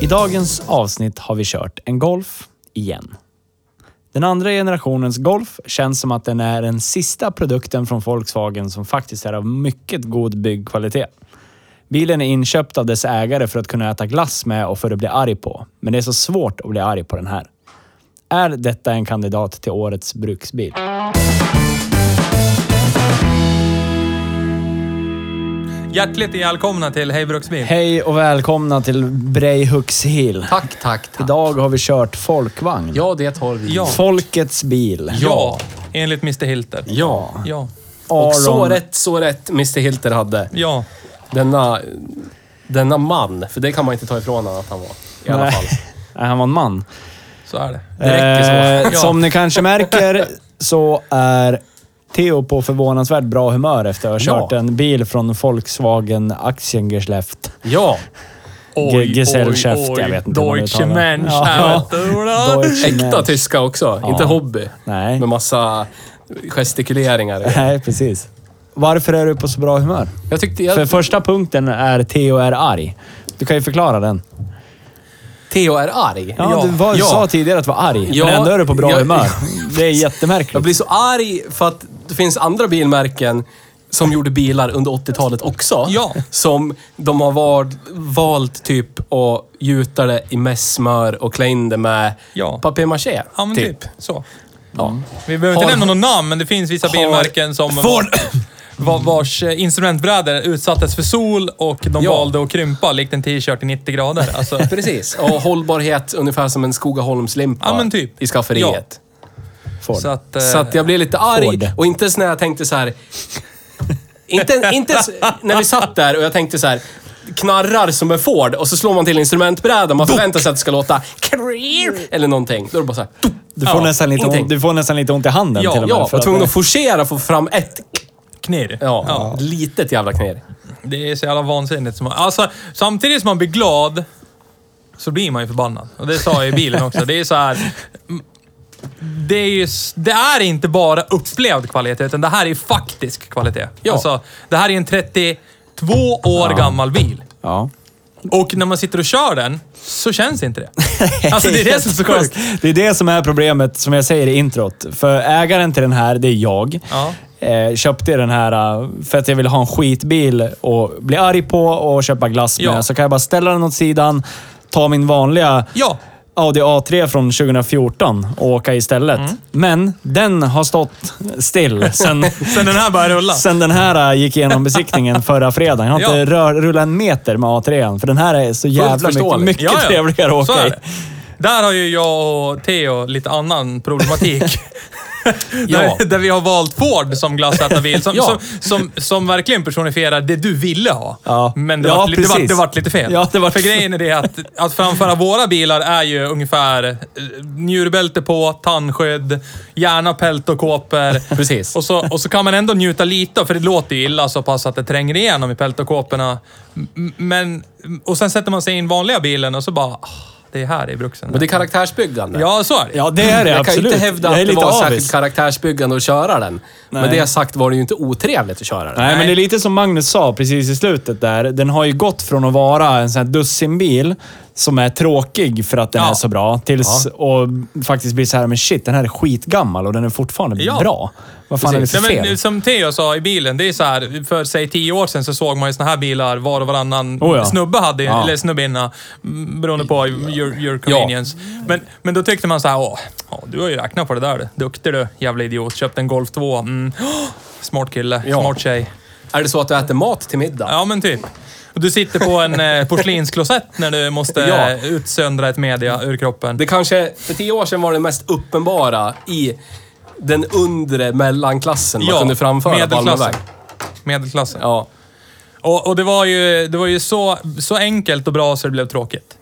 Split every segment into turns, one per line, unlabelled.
I dagens avsnitt har vi kört en Golf igen. Den andra generationens Golf känns som att den är den sista produkten från Volkswagen som faktiskt är av mycket god byggkvalitet. Bilen är inköpt av dess ägare för att kunna äta glass med och för att bli arg på. Men det är så svårt att bli arg på den här. Är detta en kandidat till årets bruksbil?
Hjärtligt välkomna till Hej Bruksbil.
Hej och välkomna till Breihooks Hill.
Tack, tack, tack.
Idag har vi kört folkvagn.
Ja, det har vi.
Ja.
Folkets bil.
Ja, enligt Mr Hilter.
Ja.
Ja.
Och så
Aron-
rätt, så rätt Mr Hilter hade.
Ja.
Denna, denna man, för det kan man inte ta ifrån honom att han var. I alla
Nej.
fall.
Nej, han var en man.
Så är det.
Det räcker så.
Eh, Som ni kanske märker så är Theo på förvånansvärt bra humör efter att ha
Ja.
kört en bil från Volkswagen Aktiengeschäft.
Ja.
Ge- Gesellschaft, jag vet inte hur man
Deutsche
uttalar det.
Mensch.
Ja.
Ja. Ja.
Deutsche
Äkta
Mensch.
tyska också. Inte hobby.
Nej.
Med massa gestikuleringar.
Nej, precis. Varför är du på så bra humör?
Jag tyckte
För
jag...
första punkten är Theo är arg. Du kan ju förklara den.
Theo är arg.
Ja, Du var,
Ja.
sa tidigare att du var arg,
Ja.
men ändå är du på bra
Ja.
humör. Det är
Jag
jättemärkligt.
blir så arg för att det finns andra bilmärken som gjorde bilar under 80-talet också.
Ja.
Som de har valt, valt typ att gjuta det i mässmör och klä in det med
Ja.
papier-maché.
Ja, men typ.
typ.
Så.
Ja.
Vi behöver inte
Har-
nämna några namn, men det finns vissa
har-
bilmärken som...
Ford!
va- Vars eh, instrumentbrädor utsattes för sol och de
Ja.
valde att krympa likt en t-shirt i 90 grader. Alltså,
Precis. Och hållbarhet ungefär som en Skogaholmslimpa
Ja, men typ.
i skafferiet.
Ford.
så att, eh,
Så att jag blev lite arg
Ford.
och inte ens när jag tänkte så här. Inte, inte ens när vi satt där och jag tänkte så här. Knarrar som en Ford och så slår man till instrumentbrädan. Man förväntar sig att det ska låta "Krrrr" eller någonting. Då är det bara så här. "Tup".
Du, får
Ja,
nästan lite
ingenting.
ont, du får nästan lite ont i handen
Ja,
till och med.
Ja,
för
var
att
tvungen
det-
att forcera för att få fram ett k-
knirr.
ja, litet jävla knirr.
Det är så jävla vansinnigt. Som, alltså, samtidigt som man blir glad så blir man ju förbannad. Och det sa jag i bilen också. Det är så här... m- Det är, ju, s- det är inte bara upplevd kvalitet, utan det här är faktisk kvalitet.
Ja.
Alltså, det här är en 32 år gammal bil.
Ja.
Och när man sitter och kör den så känns inte det. Alltså det är det som är så
Jättesjukt.
konstigt.
Det är det som är problemet, som jag säger i introt. För ägaren till den här, det är jag.
Ja.
Eh, köpte den här eh, för att jag ville ha en skitbil och bli arg på och köpa glass med.
Ja.
Så kan jag bara ställa den åt sidan, ta min vanliga
Ja.
Audi A3 från 2014 och åka istället. Men den har stått still sen,
Mm. Sen den här började rulla.
sen den här eh, gick igenom besiktningen förra fredagen. Jag har
Ja.
inte rör, rullat en meter med A3, för den här är så jävla mycket,
förståeligt.
mycket trevligare att
Så är
åka i.
det. Där har ju jag och Theo lite annan problematik.
Ja.
där, där vi har valt Ford som glassätarbil, som,
Ja.
som, som, som verkligen personifierar det du ville ha.
Ja.
Men det,
Ja,
vart, lite- det, vart,
precis.
det vart lite fel.
Ja, det vart-
För grejen är det att, att framföra våra bilar är ju ungefär eh, njurbälte på, tandskydd, gärna pält och kåpor.
Precis.
Och så, och så kan man ändå njuta lite, för det låter ju illa så pass att det tränger igenom i peltokåporna. M- Men, och sen sätter man sig i den vanliga bilen och så bara, ah, det här är bruxen.
Men det är karaktärsbyggande.
Ja, så är det.
Ja, det är det
jag
absolut.
kan inte hävda
jag är
att det
lite
var
avis.
särskilt karaktärsbyggande att köra den.
Nej.
Men det sagt var det ju inte otrevligt att köra den.
Nej, men det är lite som Magnus sa precis i slutet där. Den har ju gått från att vara en sån här dussinbil som är tråkig för att den
Ja.
är så bra, tills och faktiskt blir så här, men shit, den här är skitgammal och den är fortfarande
Ja.
bra. Vad fan
Precis.
är det för
Nej,
fel?
men, som Theo sa i bilen, det är så här, för säg tio år sedan så såg man ju såna här bilar var och varannan
Oh ja.
snubbe hade,
Ja.
eller snubbinna, mm, beroende på your, your convenience. Men, men då tyckte man så här, åh, ja, du har ju räknat på det där du. Duktig du, jävla idiot. Köpte en Golf 2. Mm. Åh, Smart kille,
Ja.
smart tjej.
Är det så att du äter mat till middag?
Ja, men typ. Du sitter på en eh, porslinsklosett när du måste
Ja.
eh, utsöndra ett media ur kroppen.
Det kanske, för tio år sedan var det mest uppenbara i den undre mellanklassen man kunde framföra på allmän väg.
medelklassen. Medelklassen.
Ja,
Och, och det var ju, det var ju så, så enkelt och bra så det blev tråkigt.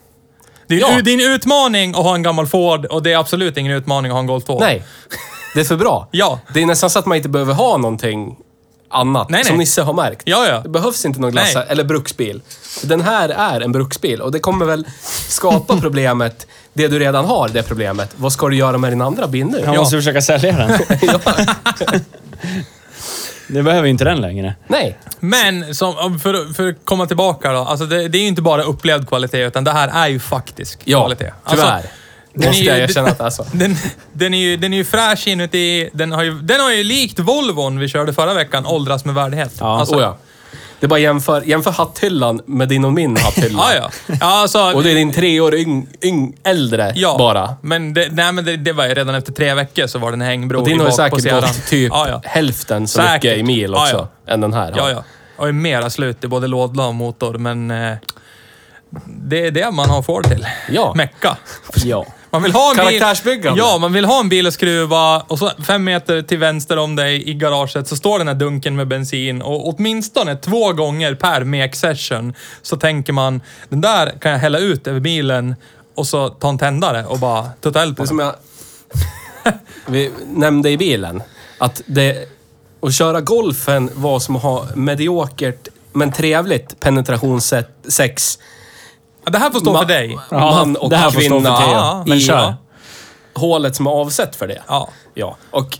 Det är ju
Ja.
u- det är en utmaning att ha en gammal Ford och det är absolut ingen utmaning att ha en Golf 2.
nej. Det är för bra.
Ja.
Det är nästan så att man inte behöver ha någonting annat,
Nej,
som
nej.
Nisse har märkt.
Ja, ja.
Det behövs inte någon glassa
Nej.
eller bruksbil. Den här är en bruksbil och det kommer väl skapa problemet, det du redan har, det problemet. Vad ska du göra med din andra bil nu?
Han
Ja.
måste försöka sälja den. Det behöver inte den längre.
Nej.
Men som, för, för att komma tillbaka då. Alltså det, det är ju inte bara upplevd kvalitet, utan det här är ju faktisk
Ja,
kvalitet.
tyvärr.
Alltså, den
måste
är ju-
jag erkänna att det är så.
Den, den, är ju, den är ju fräsch inuti. Den har ju, den har ju likt Volvon vi körde förra veckan, åldras med värdighet.
Ja,
alltså,
Oh, ja. Det är bara jämför, jämför hatthyllan med din och min hatthylla.
ja, ja. ja alltså,
Och det är din tre år yng, yng, äldre
ja,
bara.
Men, det, nej, men det, det var ju redan efter tre veckor så var den hängbro
Och din
i
har ju
bak på
säkert
sedan.
gått typ
Ja, ja.
hälften så
Säkert.
mycket i mil
Ja,
också,
ja.
än den här. har.
ja, ja. Och är mera slut i både låda och motor, men... Eh, det är det man har Ford till.
Ja.
Mecka.
Ja.
Man vill ha en bil...
Karaktärsbyggande.
Ja, man vill ha en bil att skruva och så fem meter till vänster om dig i garaget så står den här dunken med bensin och åtminstone två gånger per mek-session så tänker man den där kan jag hälla ut över bilen och så ta en tändare och bara tutta eld på den.
Det som jag vi nämnde i bilen, att det, att köra golfen var som att ha mediokert men trevligt penetrationssätt sex.
Ja, Det här får stå för
Ma-
dig.
Ja,
Man och
det här får stå
kvinna.
för Theo.
Ja,
Men
i-
kör.
Hålet som är avsett för det.
Ja.
Ja, och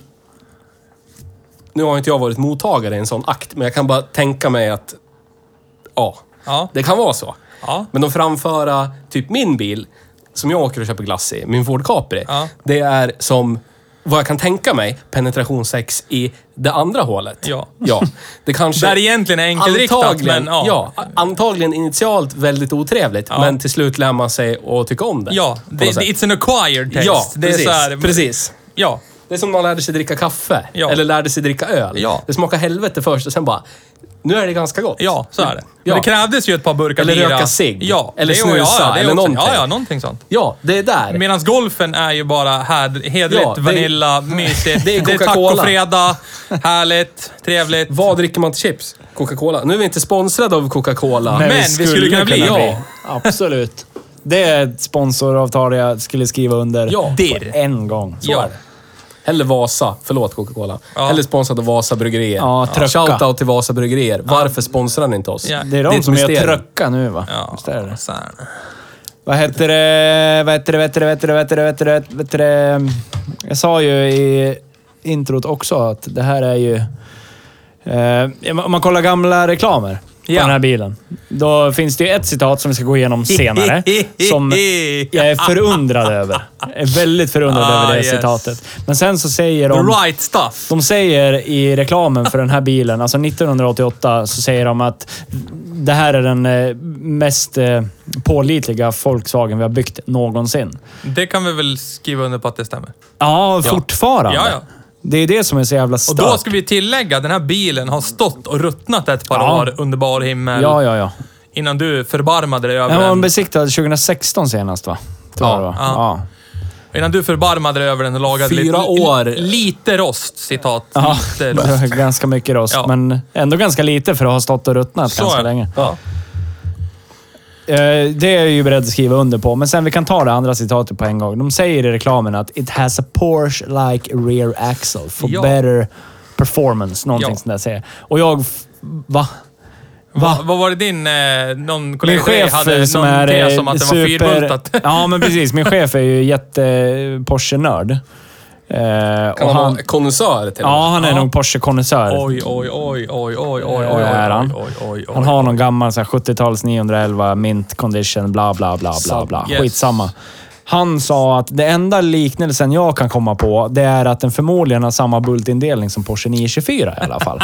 nu har inte jag varit mottagare i en sån akt, men jag kan bara tänka mig att ja,
Ja.
det kan vara så.
Ja.
Men de framföra typ min bil, som jag åker och köper glass i, min Ford Capri,
Ja.
det är som vad jag kan tänka mig, penetrationssex i det andra hålet.
Ja.
ja. Det kanske...
Där egentligen är enkelriktat,
antagligen,
men ja.
ja. a- Antagligen initialt väldigt otrevligt, men till slut lär man sig att tycka om det.
Ja,
på
det,
något sätt.
it's an acquired taste.
ja
det är
precis.
så här,
precis.
Ja,
Det är som man lärde sig dricka kaffe.
Ja.
Eller lärde sig dricka öl.
Ja.
Det smakar helvete först och sen bara, nu är det ganska gott.
ja, så är det.
Ja.
Men det krävdes ju ett par burkar
Eller
bira.
röka cigg.
Ja.
Eller
det är- ja,
snusa,
ja, det är
eller
också- Ja,
någonting.
ja, någonting sånt.
Ja, det är där.
Medan golfen är ju bara här, hedligt,
Ja, det är-
vanilla, mysigt.
det är Coca-Cola.
tacofredag, härligt, trevligt.
Vad dricker man till chips? Coca-Cola. Nu är vi inte sponsrade av Coca-Cola.
Men vi skulle kunna bli, ja.
Absolut. Det är ett sponsoravtal jag skulle skriva under
Ja.
på en gång.
Så
Ja.
är det. Eller Vasa. Förlåt Coca-Cola.
Ja.
Eller sponsrad av Vasa Bryggerier.
Ja, Tröcka.
Shoutout till Vasa Bryggerier. Varför sponsrar ni inte oss?
Ja.
Det är de
Det är ett
som gör
mysterium.
tröcka nu va?
Ja,
Visst är det?
så här.
Vad heter det? Vad heter det? Vad heter det? Vad heter det? Vad heter det? Vad heter det? Vad heter det? Jag sa ju i introt också att det här är ju... Eh, om man kollar gamla reklamer på
Ja.
den här bilen. Då finns det ju ett citat som vi ska gå igenom senare. som jag är förundrad över. Jag är väldigt förundrad
Ah,
över det
yes.
citatet. Men sen så säger de...
The right stuff.
De säger i reklamen för den här bilen, alltså 1988, så säger de att det här är den eh, mest eh, pålitliga Volkswagen vi har byggt någonsin.
Det kan vi väl skriva under på att det stämmer.
Ja, fortfarande.
Ja, ja.
Det är det som är så jävla
Och
stört.
då ska vi tillägga, den här bilen har stått och ruttnat ett par
Ja.
år under bar himmel.
Ja, ja, ja.
Innan du förbarmade dig
Den
över
var
den.
den besiktad 2016 senast va? Tror
Ja,
jag det var.
ja. Innan du förbarmade dig över den och lagade
Fyra
lite,
år.
lite rost, citat.
Ja.
Lite
Det
rost.
var ganska mycket rost,
Ja.
men ändå ganska lite för att ha stått och ruttnat
Så
ganska
är det.
länge.
Ja.
Eh, Det är jag ju beredd att skriva under på, men sen vi kan ta det andra citatet på en gång. De säger i reklamen att “It has a Porsche-like rear axle for
Ja.
better performance”. Någonting
Ja.
sånt där säger Och jag... f- Va?
Va?
Va?
Vad var det din... Eh, någon kollega
Min
till dig
chef
hade
som
någon
är
tes
eh,
om att det var
super...
fyrbultat.
Ja, men precis. Min chef är ju jätte-Porsche-nörd. Eh,
Kan
och
han,
han,
vara konnässör till
ja, han är
Ja.
nog Porsche-konnässör.
Oj, oj, oj, oj, oj, oj, oj,
Det är
oj,
han.
oj, oj, oj.
Han har någon gammal så här 70-tals 911 mint condition, bla bla bla bla. bla.
Yes.
Skitsamma. Han sa att det enda liknelsen jag kan komma på, det är att den förmodligen har samma bultindelning som Porsche 924 i alla fall.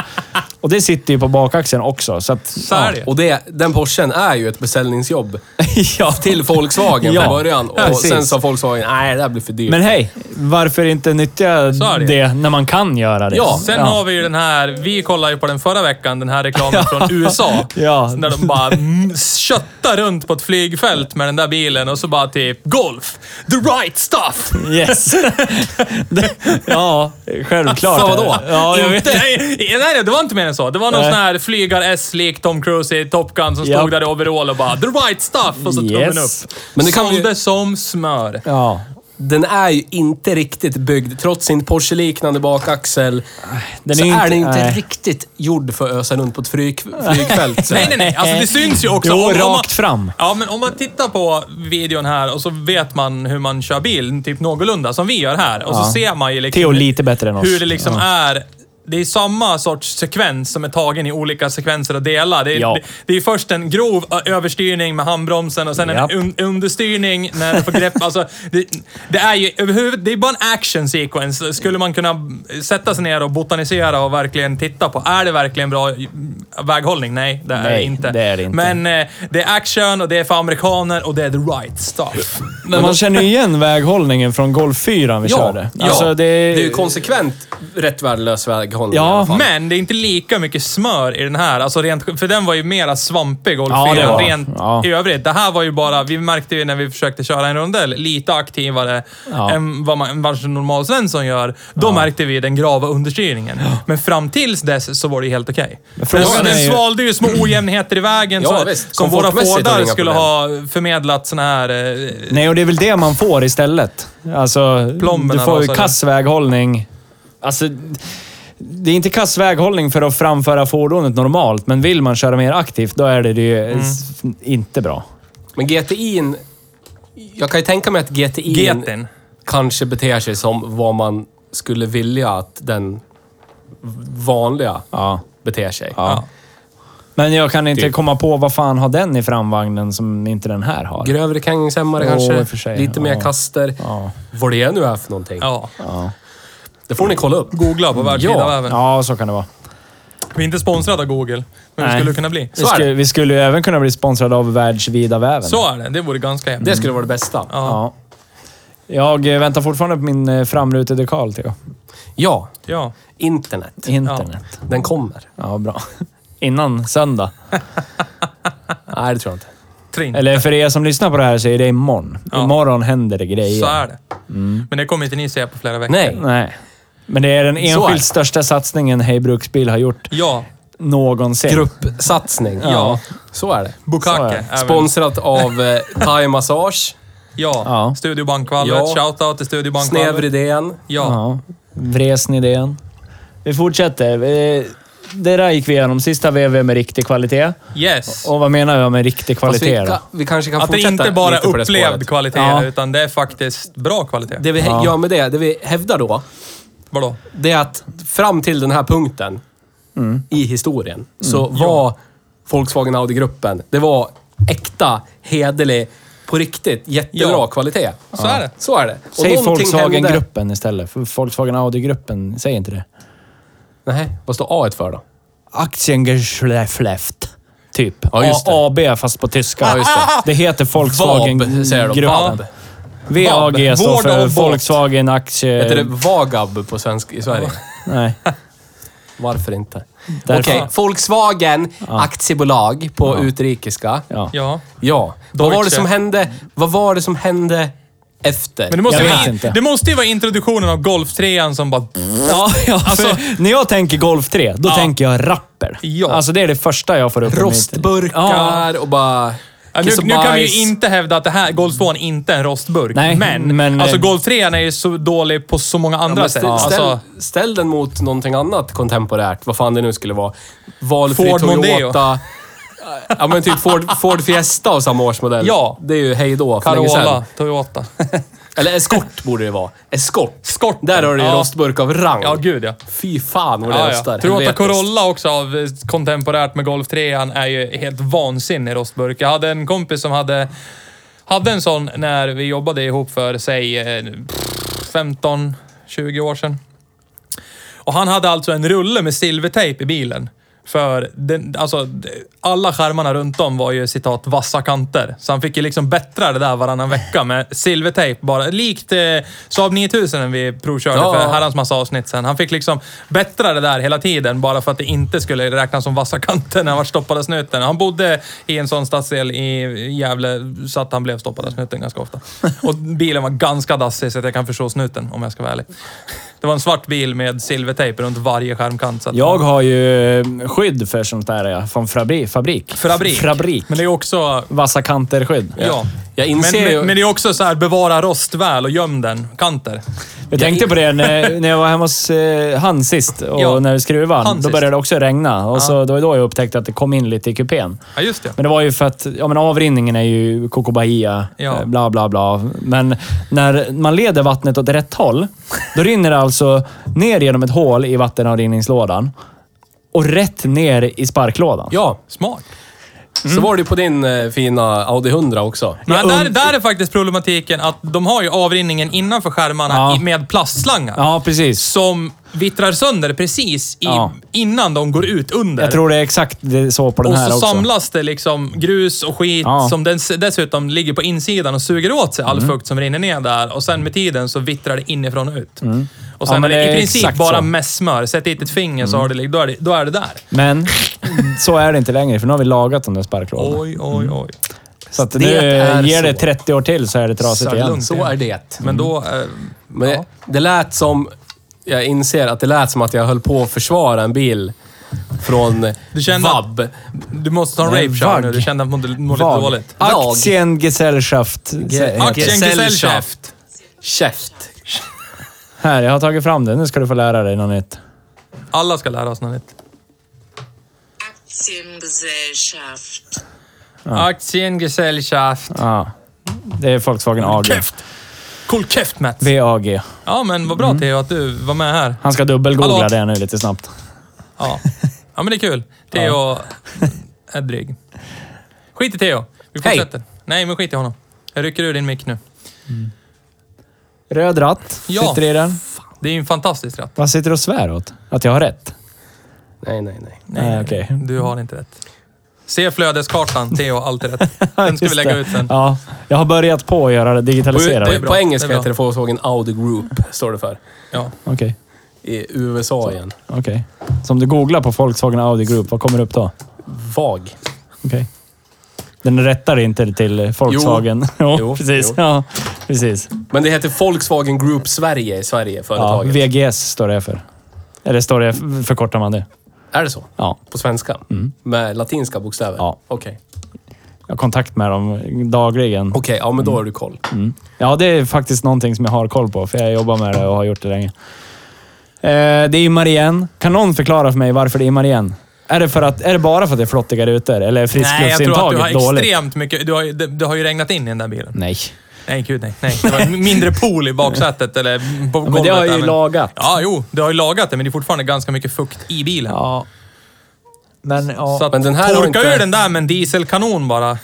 Och det sitter ju på bakaxeln också. Så att,
Så är det.
Och det, den Porschen är ju ett beställningsjobb
ja.
till Volkswagen
Ja,
från början. Och
precis.
sen sa Volkswagen, nej det här blir för dyrt.
Men hej, varför inte nyttja
Så är
det.
det.
när man kan göra det?
Ja,
Sen har vi ju den här, vi kollade ju på den förra veckan, den här reklamen från USA.
Ja.
Där de bara mm, köttar runt på ett flygfält med den där bilen och så bara typ golf, the right stuff.
Yes. Det- ja, självklart.
Alltså, vadå?
Ja, jag vet.
inte, nej, nej, det var inte mer än så. Det var någon
Nej.
sån här flygar-S lik Tom Cruise i Top Gun som
Japp.
stod där i overall och bara “the right stuff” och så tummen
Yes.
upp.
Men
Men
det
det
kan vi-
Sålde som smör.
Ja,
Den är ju inte riktigt byggd, trots sin Porsche-liknande bakaxel,
Äh, den
så
är
är,
ju inte-
den inte
nej.
riktigt gjord för att ösa runt på ett flyg, flygfält. så.
Nej, nej, nej. Alltså det syns ju också.
Jo,
Om- om man-
rakt fram.
Ja, men om man tittar på videon här och så vet man hur man kör bil, typ någorlunda, som vi gör här. Och
Ja.
så ser man ju liksom...
Theo lite bättre än oss.
Hur det liksom
Ja.
är. Det är samma sorts sekvens som är tagen i olika sekvenser och delar. Det är,
Ja.
det, det är först en grov ö- överstyrning med handbromsen och sen
Japp.
en un, understyrning när du får grepp. Alltså, det, det är ju överhuvud, det är bara en action sequence. Skulle man kunna sätta sig ner och botanisera och verkligen titta på, är det verkligen bra väghållning? Nej, det är
Nej,
det inte.
det är det inte.
Men eh, det är action och det är för amerikaner och det är the right stuff.
Men man känner ju igen väghållningen från Golf 4 vi körde.
ja.
Alltså,
det är ju konsekvent rätt värdelös väghållning
Ja,
i alla fall.
Men det är inte lika mycket smör i den här. Alltså rent, för den var ju mera svampig, Golf
Ja, det
4,
var.
rent
Ja.
i övrigt. Det här var ju bara, vi märkte ju när vi försökte köra en rondell, lite aktivare
Ja.
än vad man, vad en normal Svensson gör. Då märkte vi den grava understyrningen. Men fram tills dess så var det ju helt okej.
frågan
Den,
är ju-
den svalde ju små ojämnheter i vägen
Ja,
så,
visst.
som våra
Komfortmässigt har det
fårdar
inga
skulle ha förmedlat såna här... eh,
Nej, och det är väl det man får istället. Alltså,
Plomberna
du får ju
rasar
kass väghållning. Alltså, det är inte kass väghållning för att framföra fordonet normalt, men vill man köra mer aktivt, då är det ju s- inte bra.
Men GTI'n... Jag kan ju tänka mig att GTI'n
Getin.
kanske beter sig som vad man skulle vilja att den vanliga
Ja.
beter sig.
Ja. Men jag kan inte komma på vad fan har den i framvagnen som inte den här har.
Grövre kangsämmare
Åh, i och för
kanske,
sig,
lite mer
ja.
kaster.
Ja.
Vad det nu är för någonting.
Ja.
Det får ni kolla upp.
Googla på världsvida
Ja.
väven.
ja, så kan det vara.
Vi är inte sponsrade av Google, men vi
Nej.
skulle kunna bli.
Vi
Så är det.
skulle, vi skulle ju även kunna bli sponsrade av Världsvida väven.
Så är det. Det vore ganska jävligt.
Det skulle vara det bästa. Ja.
Ja. Jag eh, väntar fortfarande på min eh, framrutedekal, Theo.
Ja.
internet.
Internet.
Den kommer.
Ja. bra. Innan söndag.
Nej, det tror jag inte.
Trinn.
Eller för er som lyssnar på det här så är det imorgon.
Ja.
Imorgon händer det grejer.
Så är det. Men det kommer inte ni se på flera veckor.
Nej.
Mm. Nej. Men det är den
är
enskilt
det.
största satsningen Hej Bruksbil har gjort
Ja,
någonsin.
Gruppsatsning. Ja. Så är det.
Så är
Bukake.
det.
även.
Sponsrat av eh, Thai Massage,
Ja.
Ja.
Studio Bankvalvet.
Ja.
Shoutout till Studio Bankvalvet.
Snävridén.
Ja.
Ja. Vresen-idén. Vi fortsätter. Eh, Det där gick vi igenom. Sista VV med riktig kvalitet.
Yes.
Och vad menar jag med riktig
Fast
kvalitet
vi,
då?
ka- vi kanske kan
att det
fortsätta
inte bara
lite
är
på det
upplevd
spåret.
kvalitet,
Ja.
utan det är faktiskt bra kvalitet.
Det vi he-
Ja.
gör med det, det vi hävdar då,
Vadå?
det är att fram till den här punkten i historien så var Volkswagen Audi-gruppen, det var äkta, hederlig, på riktigt jättebra
Ja.
kvalitet.
Så är det.
Så är det. Och
Säg
någonting hände-
Volkswagen-gruppen istället. För Volkswagen Audi-gruppen, säg inte det.
Nej, vad står A för då?
Aktiengeschäft. Typ.
Ja, just det.
A- AB fast på tyska.
Ja, just det.
det. heter
VAB säger de. VAB.
Volkswagen-gruppen. VAG står
Vård
för
och båt.
Volkswagen Aktie...
Heter det Vagab på svensk i Sverige?
Nej.
Varför inte? Okej,
Därför.
Volkswagen aktiebolag på utrikiska.
Ja.
Ja.
Ja. Vad var, det
Deutsche.
som hände, vad var det som hände efter?
Men det måste,
Jag
ju
vet
vara, in,
inte.
det måste ju vara introduktionen av Golftrean som bara...
Ja, ja för
Alltså-
när jag tänker Golf 3, då tänker jag rapper.
Ja.
Alltså det är det första jag får upp i mitt-
Rostburkar och bara...
Ja, nu,
kiss och
nu kan vi
bajs.
ju inte hävda att det här, Golf 2 inte är en rostburk.
Nej,
men,
men-
alltså Golf 3 är ju så dålig på så många andra
Men
sätt.
ställ,
Alltså,
ställ, ställ den mot någonting annat kontemporärt, vad fan det nu skulle vara. Valfri
Ford Mondeo.
Toyota. Ja men typ Ford, Ford Fiesta och samma årsmodell.
Ja.
Det är ju hejdå för länge sedan.
Carola, Toyota.
Eller eskort borde det vara. Eskort.
Skorten.
Där har du ju
Ja.
rostburk av rang.
Ja, gud ja.
Fy fan vad det
Ja,
rostar.
ja. Toyota
Helvetiskt.
Corolla också av eh, kontemporärt med Golf 3 är ju helt vansinnig rostburk. Jag hade en kompis som hade, hade en sån när vi jobbade ihop för, säg, eh, 15-20 år sedan. Och han hade alltså en rulle med silvertejp i bilen. För den, alltså, d- alla skärmarna runt om var ju citat vassa kanter. Så han fick ju liksom bättra det där varannan vecka med silvertejp bara. Likt eh, Saab 9000 vi provkörde
Ja.
för herrans massa avsnitt sen. Han fick liksom bättra det där hela tiden bara för att det inte skulle räknas som vassa kanter när han var stoppad av snuten. Han bodde i en sån stadsdel i Gävle så att han blev stoppad av snuten ganska ofta. Och bilen var ganska dassig så att jag kan förstå snuten om jag ska vara ärlig. Det var en svart bil med silvertejp runt varje skärmkant. Så att
Jag har ju eh, skydd för sånt där ja, från fabri, fabrik.
Fabrik.
Fabrik.
Men det är också...
Vassa kanter-skydd.
Ja.
Jag
Men,
inser ju...
men, men det är också så här, bevara rost väl och göm den. Kanter.
Jag tänkte på det när, när jag var hemma hos eh, han sist och
Ja.
när vi skruvade.
Han
han, Då
sist.
började det också regna och så, det var då jag upptäckte att det kom in lite i kupén.
Ja, just det.
Men det var ju för att ja, men avrinningen är ju Coco Bahia,
Ja.
eh, bla bla bla. Men när man leder vattnet åt rätt håll, då rinner det alltså ner genom ett hål i vattenavrinningslådan och rätt ner i sparklådan.
Ja,
Smart. Mm.
så var det ju på din eh, fina Audi 100 också.
Nej,
und-
där, där är faktiskt problematiken att de har ju avrinningen innanför skärmarna
Ja.
i, med plastslangar.
Ja, precis.
Som vittrar sönder precis i,
Ja.
innan de går ut under.
Jag tror det är exakt det- så på den
och
här
så
också.
samlas det liksom grus och skit
Ja. Mm.
som dess, dessutom ligger på insidan och suger åt sig all fukt som rinner ner där. Och sen med tiden så vittrar det inifrån och ut. Och sen
Mm. Ja, men
är det
det är
i princip
exakt
bara
så. Mm. där.
mässmör. Sätt dit ett finger så har det, lig- då, är det, då är det där.
Men så är det inte längre, för nu har vi lagat de där sparklådorna.
Oj, oj, oj.
Så att
det
nu
är
ger
så.
det 30 år till så är det trasigt
Så
igen.
lugnt.
Så är det.
Men då... Eh,
Men det, det lät som... Jag inser att det lät som att jag höll på att försvara en bil från
Du kände att-
VAB.
du måste ta en
Nej,
rape show nu.
vagg.
Du kände att du mådde, mådde
Vag.
lite dåligt.
Vag.
Aktiengesellschaft. heter det.
Aktiengesellschaft.
Käft.
Här, jag har tagit fram det. Nu ska du få lära dig något nytt.
Alla ska lära oss något nytt.
Aktiengesellschaft.
Aktiengesellschaft.
Ja. Det är Volkswagen AG.
Käft. Cool käft, Mats.
VAG.
Ja, men vad bra
Mm.
Theo att du var med här.
Han ska dubbelgoogla
Hallå.
det nu lite snabbt.
Ja, ja men det är kul. Theo är dryg. Skit i Theo. Vi
Hej.
fortsätter. Nej, men skit i honom. Jag rycker ur din mick nu.
Röd ratt
Ja.
sitter i den.
Det är ju en fantastisk ratt.
Vad sitter du och svär åt? Att jag har rätt?
Nej, nej, nej.
Nej, okej.
Du har inte rätt. Se flödeskartan, Theo har alltid rätt. Den ska vi
Just
lägga
det.
ut sen.
Ja, jag har börjat på att göra det, digitalisera
På,
det.
är
på,
bra.
på
Det
engelska
är
heter det Volkswagen Audi Group, står det för.
Ja.
Okej,
I USA igen.
okej. Så om du googlar på Volkswagen Audi Group, vad kommer det upp då?
VAG.
Okej. Den rättar inte till Volkswagen. Jo,
Jo,
precis.
jo.
Ja, precis.
Men det heter Volkswagen Group Sverige i Sverige,
Ja,
företaget.
VGS står det för. Eller står det, förkortar man det?
Är det så?
Ja.
På svenska? Med latinska bokstäver?
Ja.
Okej.
Jag har kontakt med dem dagligen.
Okej, ja men då har du koll.
Ja, det är faktiskt någonting som jag har koll på, för jag jobbar med det och har gjort det länge. Eh, det är ju Marien. Kan någon förklara för mig varför det är Marien? Är det, för att, är det bara för att det är flottiga rutor eller är
Nej, jag tror att du har
friskluftsintaget dåligt?
extremt mycket... Du har, ju- det, det har ju regnat in i den där bilen.
Nej.
Nej, gud nej. nej. Det var mindre pool i baksätet eller på golvet.
men det har jag
där,
ju lagat.
Ja, jo. Det har ju lagat det, men det är fortfarande ganska mycket fukt i bilen.
Ja. Men ja.
Så att
Men den här har
torka
inte-
ur den där med en dieselkanon bara.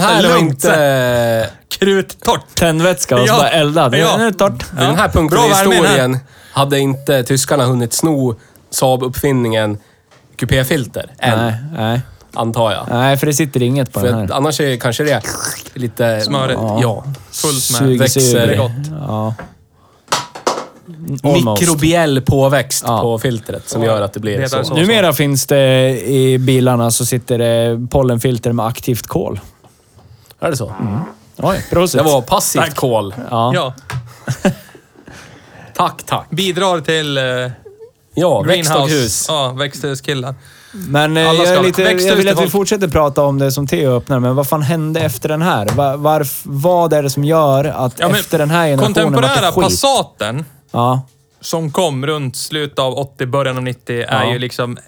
här var
Lugnt.
inte...
Kruttort.
Tändvätska och så
Ja.
bara elda. Det
Ja.
är ja. torrt.
Vid den här punkten
Bra
i
värme i den här.
historien hade inte tyskarna hunnit sno Saab-uppfinningen QP-filter än,
Nej, nej.
antar jag.
Nej, för det sitter inget på
För
den
att
här.
annars är kanske det lite...
Smörigt.
Ja.
Fullt med.
Suger,
växer
suger.
gott.
Ja. Almost.
Mikrobiell påväxt
Ja.
på filtret som gör att det blir
Det är
så.
så.
Numera finns det i bilarna så sitter det pollenfilter med aktivt kol.
Är det så?
Oj, prosit.
Det var passivt kol.
Ja.
Ja.
Tack, tack.
Bidrar till eh,
Ja,
greenhouse.
växtdaghus.
Ja, växthuskillar.
Men eh,
Alla
jag,
ska
är
ha
lite,
växt
jag
ut
vill
till
att vi
folk.
fortsätter prata om det som Theo öppnar, men vad fan hände efter den här? Va- varf, vad är det som gör att
Ja, men
efter den här generationen vart det
Kontemporära
skit?
Passaten
ja.
som kom runt slutet av 80, början av 90 är
Ja.
ju liksom...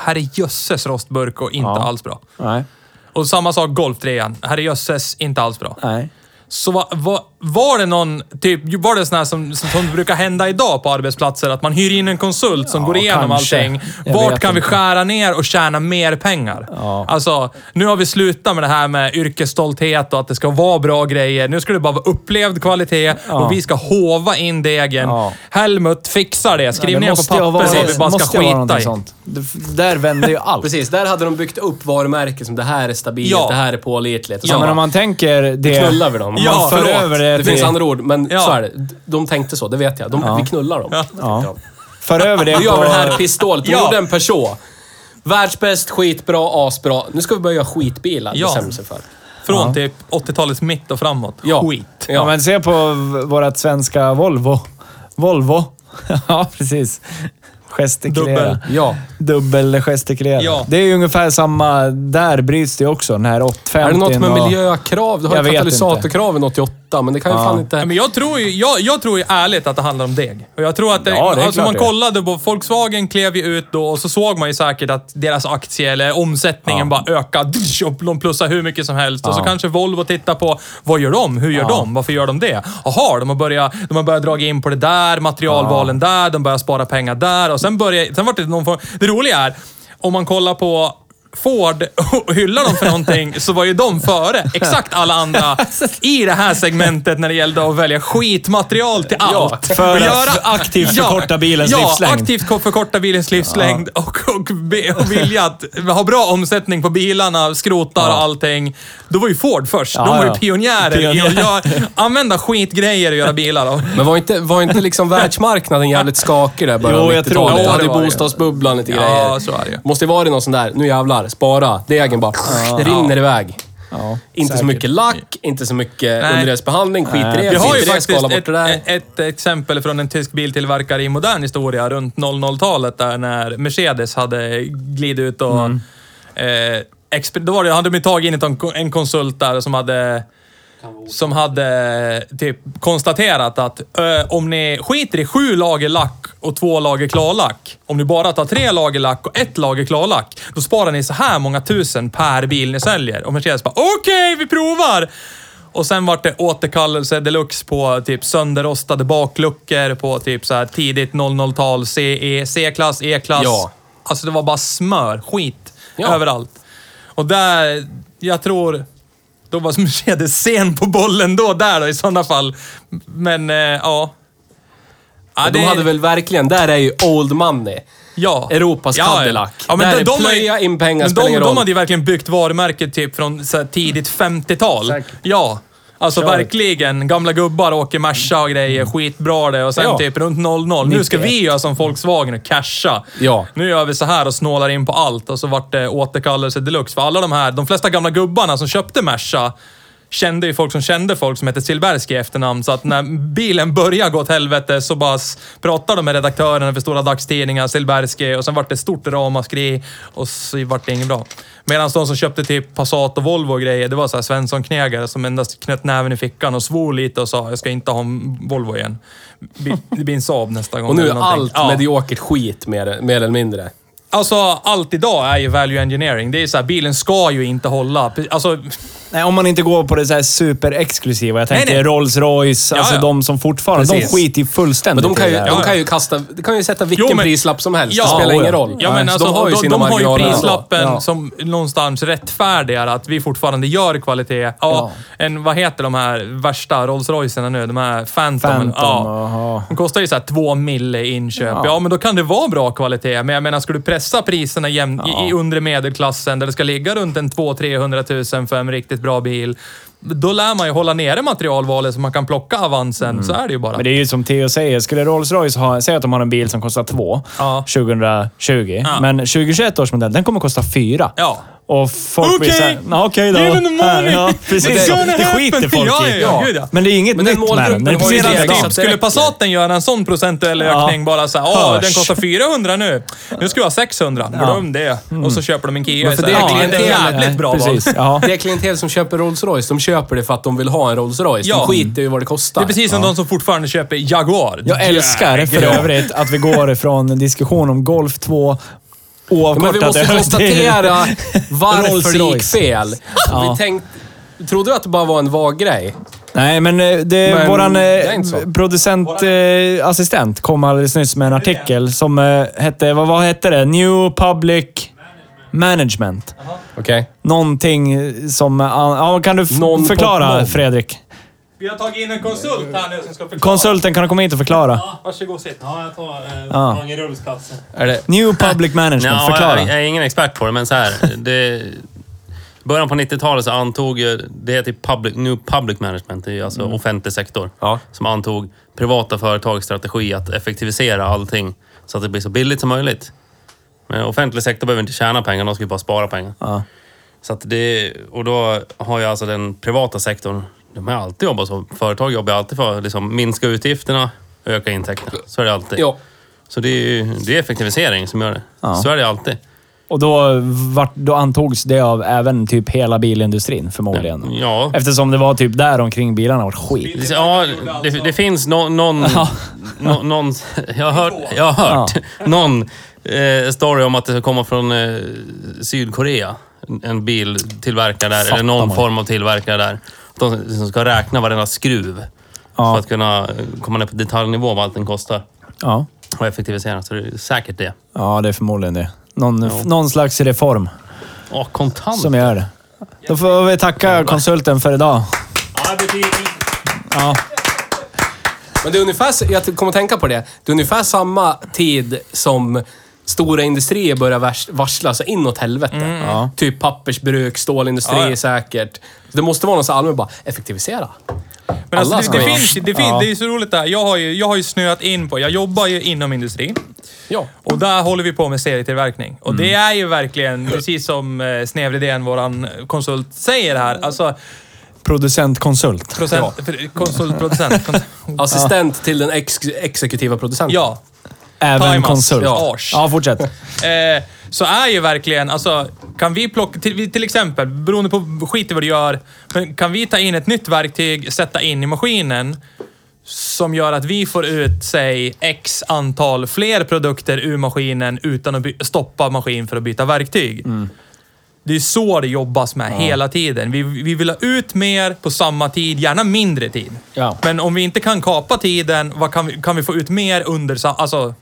Herrejösses rostburk och inte
Ja.
alls bra.
Nej.
Och samma sak Golf 3 Herrejösses, inte alls bra.
Nej.
Så vad, vad, Var det någon, typ, var det sån här som, som, som brukar hända idag på arbetsplatser? Att man hyr in en konsult som
Ja,
går igenom
kanske.
allting.
Jag
Vart
vet
kan vi
inte.
skära ner och tjäna mer pengar?
Ja.
Alltså, nu har vi slutat med det här med yrkesstolthet och att det ska vara bra grejer. Nu ska det bara vara upplevd kvalitet och vi ska hova in degen.
Ja.
Helmut, fixar det. Skriv
Det
ner på
måste ju ha
papper
varit-
vad vi bara
måste
ska
ju ha varit någonting
skita i.
Sånt. Det- Där vänder ju allt.
Precis, där hade de byggt upp varumärken som det här är stabilt,
Ja.
det här är pålitligt. Och så
Ja, men
bara,
om man tänker det...
knullar vi dem.
om
Ja,
man för
förlåt.
över det,
Det finns
till,
andra ord, men
Ja.
så är det. De tänkte så, det vet jag. De, Vi knullar dem.
Ja. för över det
Nu gör vi den här
på...
pistolet. De
Ja.
gjorde en Peugeot. Världsbäst, skitbra, asbra. Nu ska vi börja göra skitbilar.
Ja.
Bestämde sig för.
Från typ 80-talets mitt och framåt.
Ja.
Skit.
Ja,
Ja.
men se på vårt svenska Volvo. Volvo. Ja, precis. Gestikulera.
Dubbel.
ja.
Dubbelgestikulera.
Ja.
Det är ju ungefär samma... Där bryts det också, den här 850
Är det något med
och-
miljökrav? Du har
Jag
ju
vet
katalysatorkraven 88, men det kan ju fan
Ja,
inte...
Men jag tror ju, jag, jag tror ju ärligt att det handlar om deg. Och jag tror att det,
Ja, det är
alltså
klart
man
det.
kollade på Volkswagen klev ju ut då och så såg man ju säkert att deras aktie eller omsättningen bara ökade. Dsch, Och de plussar hur mycket som helst. Och så kanske Volvo tittar på, vad gör de? Hur gör de? Varför gör de det? Jaha, de har börjat, de har börjat dra in på det där, materialvalen där, de börjar spara pengar där. Och sen börjar, sen vart det någon form, det roliga är, om man kollar på Ford och hyllar dem för någonting så var ju de före exakt alla andra i det här segmentet när det gällde att välja skitmaterial till allt.
för
Och
att aktivt förkorta bilens
ja,
livslängd.
aktivt ko- förkorta bilens livslängd och, och, be- och vilja att ha bra omsättning på bilarna, skrotar och allting. Då var ju Ford först. De
Ja,
var ju
ja.
pionjärer i att
Pionjär.
göra, använda skitgrejer och göra bilar av.
Men var inte, var inte liksom världsmarknaden jävligt skakig där i början
Jo,
av
jag tror
90-talet?
det.
Du hade ju
Det var det.
bostadsbubblan lite
Ja,
grejer.
så är det ju.
Måste ju varit någon sån där, nu jävlar, spara. Degen bara det rinner iväg.
Ja,
Inte så
säkert.
mycket lack, inte så mycket
Nej.
underredsbehandling. Skit i det.
Vi har ju
skit i det,
faktiskt
skala bort
ett,
det där.
ett, ett exempel från en tysk biltillverkare i modern historia runt 00-talet där när Mercedes hade glidit ut och...
Mm.
Eh, exper- då var det, hade de ju tagit in ett- en konsult där som hade som hade typ konstaterat att ö, om ni skiter i sju lager lack och två lager klarlack. Om ni bara tar tre lager lack och ett lager klarlack, då sparar ni så här många tusen per bil ni säljer. Och Mercedes bara, okej, vi provar! Och sen vart det återkallelse deluxe på typ sönderrostade bakluckor på typ så här tidigt 00-tal, CE, C-klass, E-klass.
Ja.
Alltså det var bara smör, skit,
Ja.
överallt. Och där, jag tror... Då var Mercedes sen på bollen då, där då i sådana fall. Men eh, ja. ja
Ja, de
det-
hade väl verkligen, där är ju old money.
ja.
Europas
Ja, ja.
Cadillac.
Ja, men
Där
de,
är
de, har ju-
plöja in pengar,
men
spelar
de,
ingen
de
roll. Mm.
hade ju verkligen byggt varumärket typ från så här, tidigt 50-tal.
Säkert.
Ja. Alltså
Kör.
verkligen. Gamla gubbar åker Merca och grejer. Skitbra det. Och sen
Mm. Ja.
typ runt 00. Nu ska vi
91.
göra som Volkswagen och casha.
Ja.
Nu gör vi så här och snålar in på allt. Och så vart det återkallelse deluxe. För alla de här, de flesta gamla gubbarna som köpte Merca kände ju folk som kände folk som hette Silberski i efternamn. Så att när bilen började gå åt helvete så bara s- pratade de med redaktörerna för stora dagstidningar, Silberski, och sen vart det stort ramaskri och så vart det inget bra. Medan de som köpte typ Passat och Volvo och grejer, det var så här Svensson-knegare som endast knöt näven i fickan och svor lite och sa jag ska inte ha en Volvo igen. Bi- Det blir en Saab nästa gång.
Och nu
eller
är
någonting."
allt
Ja.
mediokert skit, mer, mer eller mindre.
Alltså, allt idag är ju value engineering. Det är så här, bilen ska ju inte hålla. Alltså,
Nej, om man inte går på det så här superexklusiva. Jag tänker
Nej, nej.
Rolls Royce,
Ja,
alltså
ja.
de som fortfarande...
Precis.
De skiter ju fullständigt
Men de kan ju,
i det här.
de
ja.
kan ju kasta... De kan ju sätta vilken
men-
prislapp som helst.
Ja,
det spelar
ja.
ingen roll.
Ja, men
Så
alltså,
de har ju
de,
sina
de har ju
marginaler ändå.
prislappen
Ja.
som någonstans rättfärdigar att vi fortfarande gör kvalitet. Ja, En, vad heter de här värsta Rolls Roycerna nu? De här Phantom.
Phantom,
ja.
aha.
De kostar ju så här två mille i inköp. Ja. men då kan det vara bra kvalitet. Men jag menar, ska du pressa priserna jäm, i, i undre medelklassen där det ska ligga runt en 200-300 000 för en riktigt bra bil. Då lär man ju hålla nere materialvalet så man kan plocka avansen.
Mm.
Så är det ju bara.
Men det är ju som Theo säger, skulle Rolls-Royce ha, säga att de har en bil som kostar två
Ja.
2020,
Ja.
men 2021 års modell, den kommer kosta fyra.
Ja.
Och folk blir
Okej.
såhär, "Ja, okej då.
Give him the money.
Här, Ja,
It's
precis.
gonna
Det skiter
happen.
folk
Ja,
i.
ja, ja, gud, ja.
Men det är inget
Men den
nytt med den. Den är
målgruppen har ju
precis
det
likadan.
så
Medan
att
typ, skulle
räcker.
Passaten göra en sån procentuell
Ja.
ökning bara såhär, ja
Hörs.
den kostar 400 nu. Nu ska vi ha 600. Glöm det. Och så köper de en Kia.
Mm. Men för
Så här,
det
ja, det är
klientelet-
jävligt bra val.
precis. Ja.
Det klientel som köper Rolls Royce, de köper det för att de vill ha en Rolls Royce.
Ja.
De skiter ju i vad det kostar.
Det är precis som de som fortfarande köper Jaguar.
Jag älskar för övrigt att vi går från en diskussion om Golf 2
Men vi
oavkortat
måste
över till-
konstatera varför det gick
Rolls-Royce.
fel. Vi tänkt, trodde du att det bara var en vag grej?
Nej, men eh, det,
Men
våran
det är inte så.
eh, producentassistent kom alldeles nyss med en artikel som eh, hette, vad, vad hette det? New Public Management.
Okej.
Någonting som... eh, an- Ja, kan du f-
Non-pop-non.
förklara, Fredrik?
Vi har tagit in en konsult här nu som ska förklara. Ah,
Konsulten, kan du komma hit och förklara?
Varsågod sitt.
Ja, jag tar eh,
Ja.
Mange Rulls plats.
Är det...
New Public Management,
Ja,
förklara.
Jag, jag är ingen expert på det, men så här. Det, början på 90-talet så antog ju... Det heter ju public, New Public Management, det är ju alltså
Mm.
offentlig sektor.
Ja.
Som antog privata företags strategi att effektivisera allting så att det blir så billigt som möjligt. Men offentlig sektor behöver inte tjäna pengar, de ska ju bara spara pengar.
Ja.
Så att det, och då har ju alltså den privata sektorn, de har alltid jobbat så. Företag jobbar ju alltid för att liksom minska utgifterna, öka intäkterna. Så är det alltid.
Ja.
Så det är, ju- det är effektivisering som gör det.
Ja.
Så är det alltid.
Och då, vart, då antogs det av även typ hela bilindustrin förmodligen.
Ja.
Eftersom det var typ där omkring bilarna var skit.
Det- Ja, det, det finns no, någon... No, någon jag har hört, jag har hört någon eh, story om att det ska komma från eh, Sydkorea. En- En biltillverkare där,
Fattar
eller någon
man.
form av tillverkare där. De liksom ska räkna varenda skruv
Ja.
för att kunna komma ner på detaljnivå vad allting kostar
Ja.
och effektivisera. Så det är säkert det.
ja, det är förmodligen det. Någon, någon slags reform
Åh, kontant!
som gör det. Då får vi tacka konsulten för idag.
Ja, det blir-
Ja.
Men det är ungefär, s- jag kommer att tänka på det, det är ungefär samma tid som stora industrier börjar vars- varsla sig inåt helvete.
Ja.
Typ pappersbruk, stålindustri
Ja, ja.
säkert. Det måste vara någon som allmänt bara, effektivisera.
Men alltså,
Alla
det,
ska
det,
vara-
finns, ju- det, finns, det är ju så roligt där. Jag har, ju, jag har ju snöat in på, jag jobbar ju inom industrin.
Ja.
Och där håller vi på med serietillverkning. Och det
Mm.
är ju verkligen, precis som eh, Snevridén, våran konsult, säger här. Alltså,
Producentkonsult.
procent, för- konsult, producent, konsult.
Assistent till den ex- exekutiva producenten.
Ja.
Även
Timas,
konsult.
ja. Ars.
ja fortsätt.
Eh, så är ju verkligen, alltså, kan vi plocka, till, vi- till exempel, beroende på skit i vad du gör, men kan vi ta in ett nytt verktyg, sätta in i maskinen, som gör att vi får ut, säg, x antal fler produkter ur maskinen utan att by- stoppa maskin för att byta verktyg. Det är så det jobbas med hela tiden. Vi, vi vill ha ut mer på samma tid, gärna mindre tid.
Ja.
Men om vi inte kan kapa tiden, vad kan, vi, kan vi få ut mer under samma... Alltså,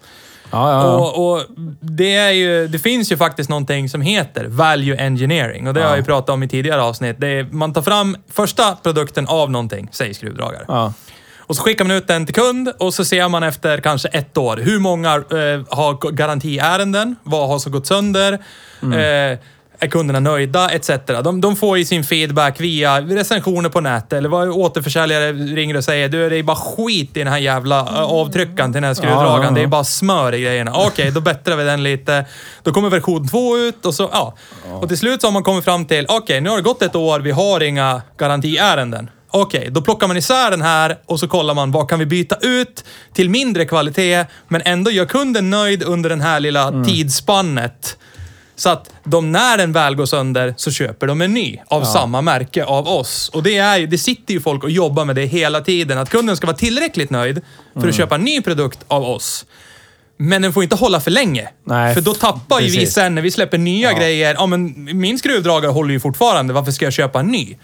Ja, ja, ja.
och, och det, är ju, det finns ju faktiskt någonting som heter value engineering. Och det har jag ju pratat om i tidigare avsnitt. Det är, man tar fram första produkten av någonting, säg skruvdragare.
Ja.
Och så skickar man ut den till kund och så ser man efter kanske ett år. Hur många eh, har g- garantiärenden? Vad har så gått sönder?
Mm.
Eh, är kunderna nöjda? Etc. De, de får ju sin feedback via recensioner på nätet eller vad återförsäljare ringer och säger. Du, det är bara skit i den här jävla eh, avtryckaren till den här skruvdragaren.
Mm. Ja, ja, ja.
Det är bara smör i grejerna. Okej, då bättrar vi den lite. Då kommer version två ut och så, ja. Och till slut så har man kommit fram till, okej, nu har det gått ett år, vi har inga garantiärenden. Okej, då plockar man isär den här och så kollar man, vad kan vi byta ut till mindre kvalitet, men ändå gör kunden nöjd under den här lilla
Mm.
tidsspannet. Så att de, när den väl går sönder, så köper de en ny av samma märke av oss. Och det, är, ju- det sitter ju folk och jobbar med det hela tiden. Att kunden ska vara tillräckligt nöjd för
Mm.
att köpa en ny produkt av oss. Men den får inte hålla för länge.
Nej,
för då tappar ju vi
precis.
sen när vi släpper nya grejer. Ja, men min skruvdragare håller ju fortfarande. Varför ska jag köpa en ny?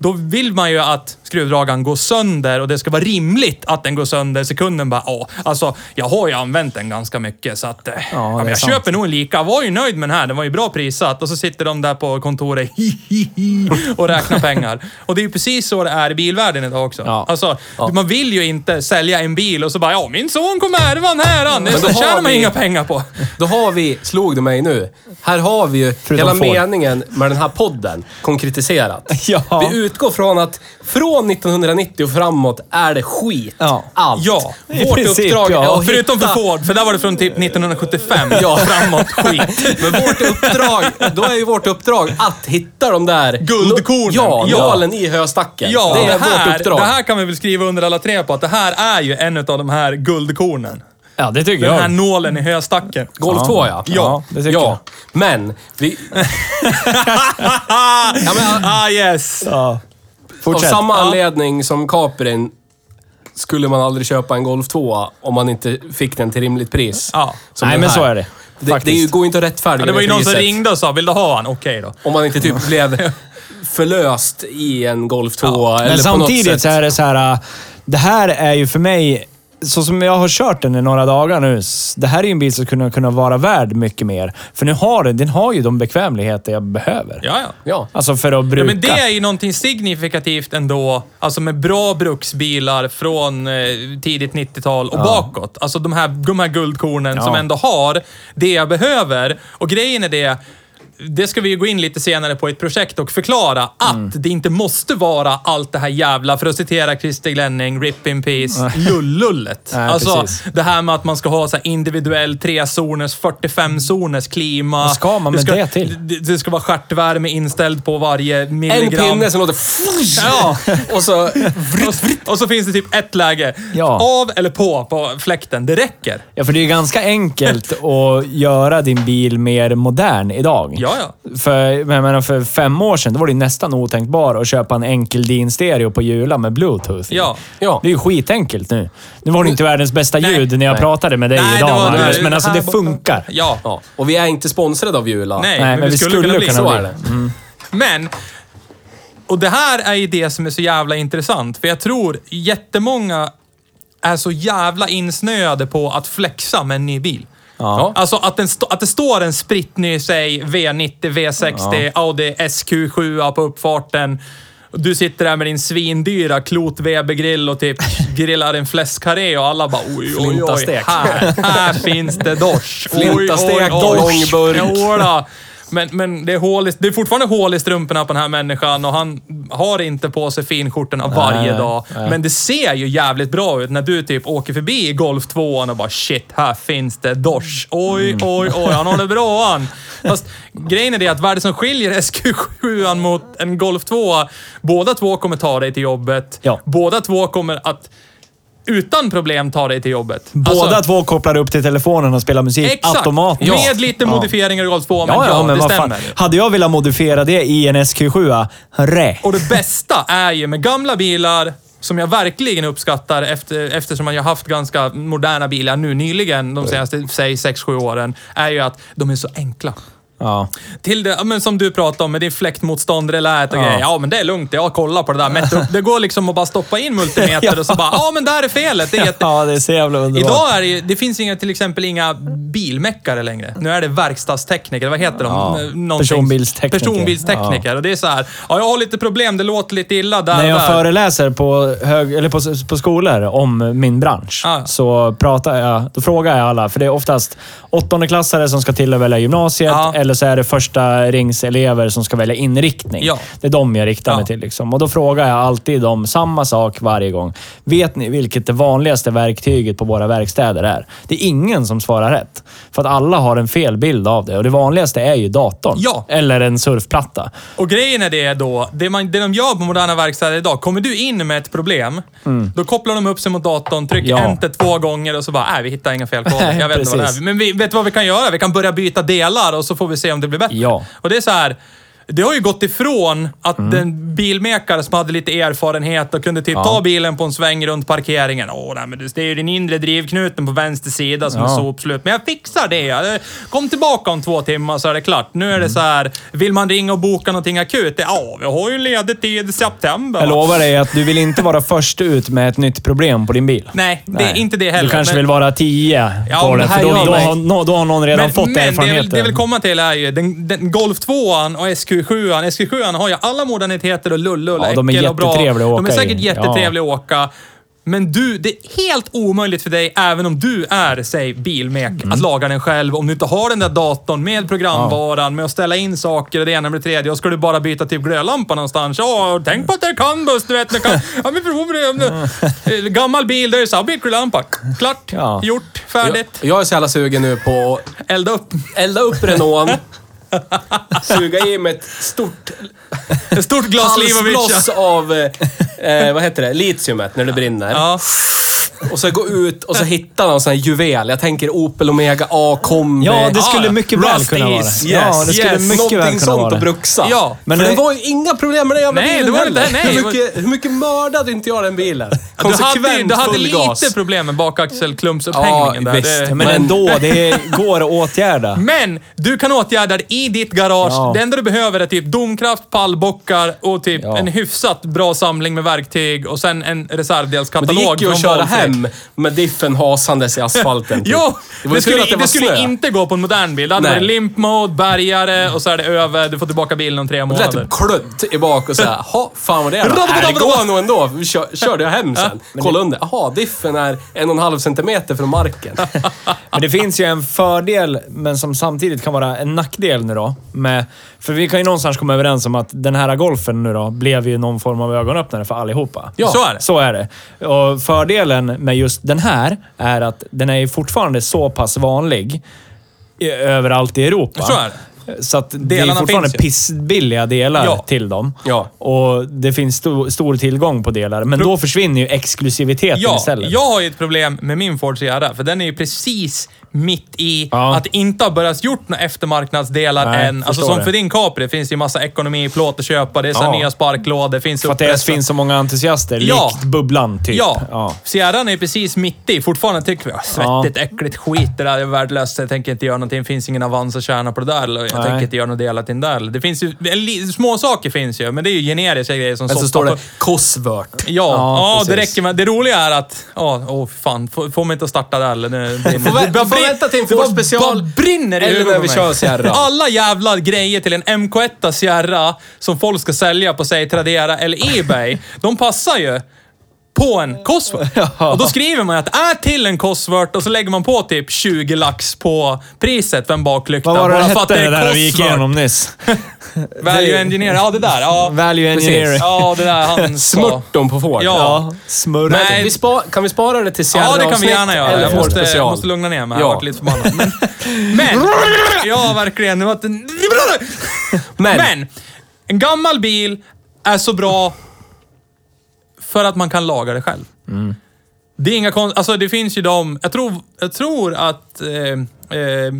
Då vill man ju att skruvdragaren går sönder och det ska vara rimligt att den går sönder. Så kunden bara, ja, alltså jag har ju använt den ganska mycket så att... eh, Ja, men
är
jag
sant.
köper nog en lika. Jag var ju nöjd med den här. Den var ju bra prissatt. Och så sitter de där på kontoret hi, hi, hi, och räknar pengar. Och det är ju precis så det är i bilvärlden idag också.
Ja.
Alltså, man vill ju inte sälja en bil och så bara, ja min son kommer ärva den här. han."
Men då
Det
har
tjänar man
vi-
inga pengar på.
Då har vi, slog du mig nu, här har vi ju hela
Ford.
meningen med den här podden konkretiserat.
Ja.
Vi utgår från att från 1990 och framåt är det skit.
Ja.
Allt.
Ja,
I
vårt
princip,
uppdrag,
ja.
ja, förutom för
Hitta-
Ford, för där var det från typ 1975 ja. framåt skit.
Men vårt uppdrag, då är ju vårt uppdrag att hitta de där...
Guldkornen.
Ja,
Ja.
nålen i höstacken.
Ja,
det är
här,
vårt uppdrag.
det här kan vi väl skriva under alla tre på, att det här är ju en av de här guldkornen.
ja, det tycker
Den här
jag.
nålen i höstacken.
Golf 2 ja.
Ja, det tycker jag.
ja. Men, vi,
ja, men, ah yes!
Ja.
av
Fortsätt.
samma anledning som Caprin skulle man aldrig köpa en Golf 2 om man inte fick den till rimligt pris.
Ja.
Som
Nej,
den
men
här.
så är det.
Det, det
Faktiskt.
går ju inte att rättfärdiga
Ja, det var ju någon som
priset
ringde och sa, vill du ha han? Okej då.
Om man inte typ blev förlöst i en Golf 2 eller
Men
på något
samtidigt så
sätt.
är det så här. äh, Det här är ju för mig, så som jag har kört den i några dagar nu. s- Det här är ju en bil som skulle kunna vara värd mycket mer. För nu har den, den har ju de bekvämligheter jag behöver.
Ja, ja.
Ja.
Alltså för att bruka.
Ja, men det är ju någonting signifikativt ändå, alltså med bra bruksbilar från eh, tidigt 90-tal och bakåt. Alltså de här, de här guldkornen
Ja.
som ändå har det jag behöver. Och grejen är det, det ska vi ju gå in lite senare på i ett projekt och förklara, att
Mm.
det inte måste vara allt det här jävla, för att citera Christer Glenning, RIP in peace, lullullet.
Nej,
alltså
precis.
det här med att man ska ha så här individuell 3-zoners, 45-zoners klima.
Vad ska man med det till?
Det, det ska vara stjärtvärme inställd på varje
En
milligram.
pinne som låter...
Ja.
Och så...
Och, och så finns det typ ett läge.
Ja.
Av eller på, på fläkten. Det räcker.
Ja, för det är ju ganska enkelt att göra din bil mer modern idag.
Ja, ja.
För, men jag menar, för fem år sedan då var det ju nästan otänkbart att köpa en enkel DIN-stereo på Jula med bluetooth i.
Ja.
Ja.
Det är ju skitenkelt nu. Nu var det inte världens bästa
Nej.
ljud när jag
Nej.
pratade med dig
Nej, det
idag,
var-
Magnus,
det-
men alltså
här
det
borta.
funkar.
Ja.
Ja. Och vi är inte sponsrade av Jula.
Nej,
Nej,
men vi skulle, kunna, bli. Mm.
Så
Så
är
är
det.
det. Men, och det här är ju det som är så jävla intressant. För jag tror jättemånga är så jävla insnöade på att flexa med en ny bil.
Ja.
Alltså att, den st- att det står en spritny, säg V90, V60, Audi SQ7 på uppfarten. Och Du sitter där med din svindyra klot grill och typ grillar en fläskkarré och alla bara oj, oj, oj.
Flintastek.
Här, här finns det dosch. Oj, oj,
Flintastek,
oj.
långburk.
Jodå. Men, men det, är hål i, det är fortfarande hål i strumporna på den här människan och han har inte på sig finskjortorna varje
nej,
dag. Men det ser ju jävligt bra ut när du typ åker förbi Golf 2 och bara shit, här finns det dosch. Oj,
Mm.
oj, oj, han håller bra han. Fast grejen är det att vad är det som skiljer SQ7 mot en Golf 2? Båda två kommer ta dig till jobbet.
Ja.
Båda två kommer att utan problem ta dig till jobbet.
Båda
Alltså-
två kopplar upp till telefonen och spelar musik
Exakt.
automatiskt.
Med lite modifieringar i Golf 2, men ja, det
vad
stämmer.
Hade jag velat modifiera det i en SQ7, rä.
Och det bästa är ju med gamla bilar, som jag verkligen uppskattar efter, eftersom man ju har haft ganska moderna bilar nu nyligen, de senaste, säg 6-7 åren, är ju att de är så enkla.
Ja.
Till det, ja, men som du pratade om med din fläktmotståndare lät och
Ja.
grejer. Ja, men det är lugnt. Jag kollar på det där. Mätt upp. Det går liksom att bara stoppa in multimeter och så bara, ja men där är felet. Det är jätte...
ja, det är så jävla underbart.
Idag är det, ju- det finns inga, till exempel inga bilmäckare längre. Nu är det verkstadstekniker, vad heter de?
Ja.
N- någonting-
Personbilstekniker.
Personbilstekniker. Och det är så här, ja, jag har lite problem, det låter lite illa där
När jag
där.
föreläser på, hög, eller på, på skolor om min bransch
Ja.
så pratar jag, då frågar jag alla. För det är oftast åttondeklassare som ska till och välja gymnasiet
Ja.
eller så är det första ringselever som ska välja inriktning.
Ja.
Det är de jag riktar
Ja.
mig till. Liksom. Och då frågar jag alltid dem samma sak varje gång. Vet ni vilket det vanligaste verktyget på våra verkstäder är? Det är ingen som svarar rätt. För att alla har en fel bild av det. Och det vanligaste är ju datorn.
Ja.
Eller en surfplatta.
Och grejen är det då, det, man, det de gör på moderna verkstäder idag, kommer du in med ett problem, då kopplar de upp sig mot datorn, trycker
Mm. Ja.
enter två gånger och så bara, nej vi hittar inga felkoder.
Nej,
Jag vet inte vad det
precis.
är. Men vi, vet du vad vi kan göra? Vi kan börja byta delar och så får vi se om det blir bättre.
Ja.
Och det är så här, det har ju gått ifrån att
Mm.
den bilmekare som hade lite erfarenhet och kunde typ ta bilen på en sväng runt parkeringen. Åh, nej, men det det är ju den inre drivknuten på vänster sida som är sopslut. Men jag fixar det. Jag- Kom tillbaka om två timmar så är det klart. Nu
Mm.
är det så här, vill man ringa och boka någonting akut? Det- Ja, vi har ju ledigt i september. va?
Jag lovar dig att du vill inte vara först ut med ett nytt problem på din bil.
Nej, det är inte det heller,
Du kanske
men-
vill vara tio
Ja,
på
men
det,
det
för
här
då,
gör
då,
mig-
har, nå- då har någon redan fått
det, jag
erfarenheten.
vill, det jag vill komma till är ju, den, den Golf 2 och SQ7. SQ7 har ju alla moderniteter och lullull
Ja, de är
äckel och bra.
jättetrevliga att
De är
åka
säkert
i.
jättetrevliga att åka. Men du, det är helt omöjligt för dig, även om du är, säg, bilmek,
Mm.
att laga den själv. Om du inte har den där datorn med programvaran, med att ställa in saker och det ena med det tredje. Och ska du bara byta typ glödlampa någonstans. Ja, tänk på att det är canvas, du vet. Det kan, ja, men provar det. om du- eh, Gammal bil, där är det så här, byt glödlampa. Klart,
Ja.
gjort,
Jag,
färdigt.
jag är så jävla sugen nu på att
Elda upp.
elda upp Renaulten, suga i med ett stort
Ett stort glas Livovica.
halsbloss av, eh, eh, vad heter det, litiumet när det brinner.
Ja.
Och så gå ut och så hitta någon sån här juvel. Jag tänker Opel Omega A kombi.
Ja, det skulle
Ah,
mycket väl
Rust
kunna vara
is,
det. Ja,
yes,
det skulle
yes.
mycket väl
Någonting
kunna vara
sånt att
det.
bruxa.
Ja,
men
Men För det
det-
var ju inga problem med den jävla
Nej,
bilen
det var det
heller.
inte. Nej, det
hur,
var-
mycket, hur mycket mördade inte jag den bilen?
Du hade,
konsekvent
du hade
full
lite
gas.
problem med bakaxelklumpsupphängningen
Ja,
där.
visst,
Det,
Men
men,
ändå, det går att åtgärda.
du kan åtgärda det i ditt garage.
Ja.
Det enda du behöver är typ domkraft, pallbockar och typ
Ja.
en hyfsat bra samling med verktyg och sen en
Men
reservdelskatalog.
det gick ju att
från
köra
Valfrick.
hem med diffen hasandes i asfalten. typ.
Jo!
Det
Det,
var ju tur
skulle,
att det
det,
var
skulle
snö.
inte gå på en modern bil. Det hade
Nej.
varit limp mode, bärgare och så är det över. Du får tillbaka bilen om tre
Det lät
månader.
typ klutt i bak och såhär, ha fan vad det är då? Nej, det går nog ändå. Vi kör, körde jag hem sen. Kolla under. Jaha, diffen är en och en halv centimeter från marken. Alltså,
Men det finns ju en fördel, men som samtidigt kan vara en nackdel nu då. Med, för vi kan ju någonstans komma överens om att den här golfen nu då blev ju någon form av ögonöppnare för allihopa.
Ja. Så är det.
Så är det. Och fördelen med just den här är att den är ju fortfarande så pass vanlig i- överallt i Europa.
Så är det.
Så att det är
Delarna
fortfarande
finns ju.
pissbilliga delar
Ja.
till dem.
Ja.
Och det finns stor, stor tillgång på delar, men då försvinner ju exklusiviteten
Ja,
istället.
jag har ju ett problem med min Ford Sierra, för den är ju precis mitt i
Ja.
att det inte har börjat gjort några eftermarknadsdelar
Nej,
än. Alltså
förstår
som
det.
för din Capri finns det ju massa ekonomiplåt att köpa, det är så här
Ja.
nya sparklådor, finns
För att det
uppressat.
finns så många entusiaster,
Ja.
likt Bubblan typ.
Ja. Sierran är precis mitt i. Fortfarande tycker vi "Ah, svettigt, äckligt, skit. Det där är värdelöst. Jag tänker inte göra någonting. Det finns ingen Avanza kärna på det där. Eller jag
Nej.
tänker inte göra något delat in där. Det finns ju... en li- Små saker finns ju, men det är ju generiska grejer som
Men så
soppa
står det
på-
Cosworth.
Ja, ja, det
precis.
räcker med. Det roliga är att... Ja, åh fan. Får, får man inte starta där eller? Nu, det,
Får vä- får vänta till en
det bara-
Ford-special
bara brinner i
eller när
ögonen på
vi
mig.
kör Sierra.
Alla jävla grejer till en MK1 Sierra som folk ska sälja på, säg Tradera eller Ebay. de passar ju på en Cosworth. Och då skriver man ju att det är till en Cosworth och så lägger man på typ 20 lax på priset för en baklykta.
Vad var det
Bara
det
för att
hette det där vi gick
Cosworth.
igenom nyss?
Value Engineer, ja det där. Ja,
Value engineering.
ja det där han sa.
Smörton på Ford.
Ja.
Smurr.
Nej.
Vi spa, kan vi spara det till sierra
Ja, det kan vi gärna göra.
Eller
Jag
Ford
måste, jag
special?
måste lugna ner mig. Jag
Ja.
har varit lite förbannad. Men, men ja, verkligen. Nu vart det...
Men-
Men. en gammal bil är så bra för att man kan laga det själv. Det är inga konst... Alltså, det finns ju de... Jag tror, jag tror att... Eh, eh,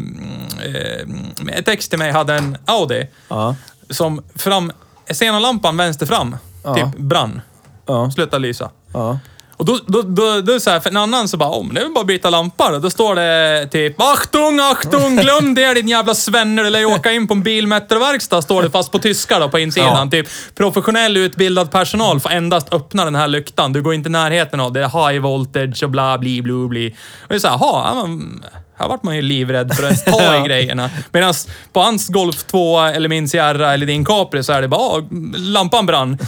eh, ett ex till mig hade en Audi
Ja.
som fram... Xenonlampan vänster fram, typ, brann.
Ja.
Slutade lysa.
Ja.
Och då, då, då, då är det så här, för en annan så bara, om det är väl bara att byta lampa då. Då står det typ, Achtung, Achtung, glöm det din jävla svenne, du lär ju åka in på en bilmätarverkstad, står det fast på tyska då på insidan. Typ, professionell utbildad personal får endast öppna den här lyktan. Du går inte i närheten av det, det är high voltage och bla, bli, blu, bli. Och det är så här, "Ha, ja, men här vart man ju livrädd för att ta i grejerna. Medan på hans Golf 2 eller min Sierra eller din Capri så är det bara, "Ah, lampan brann.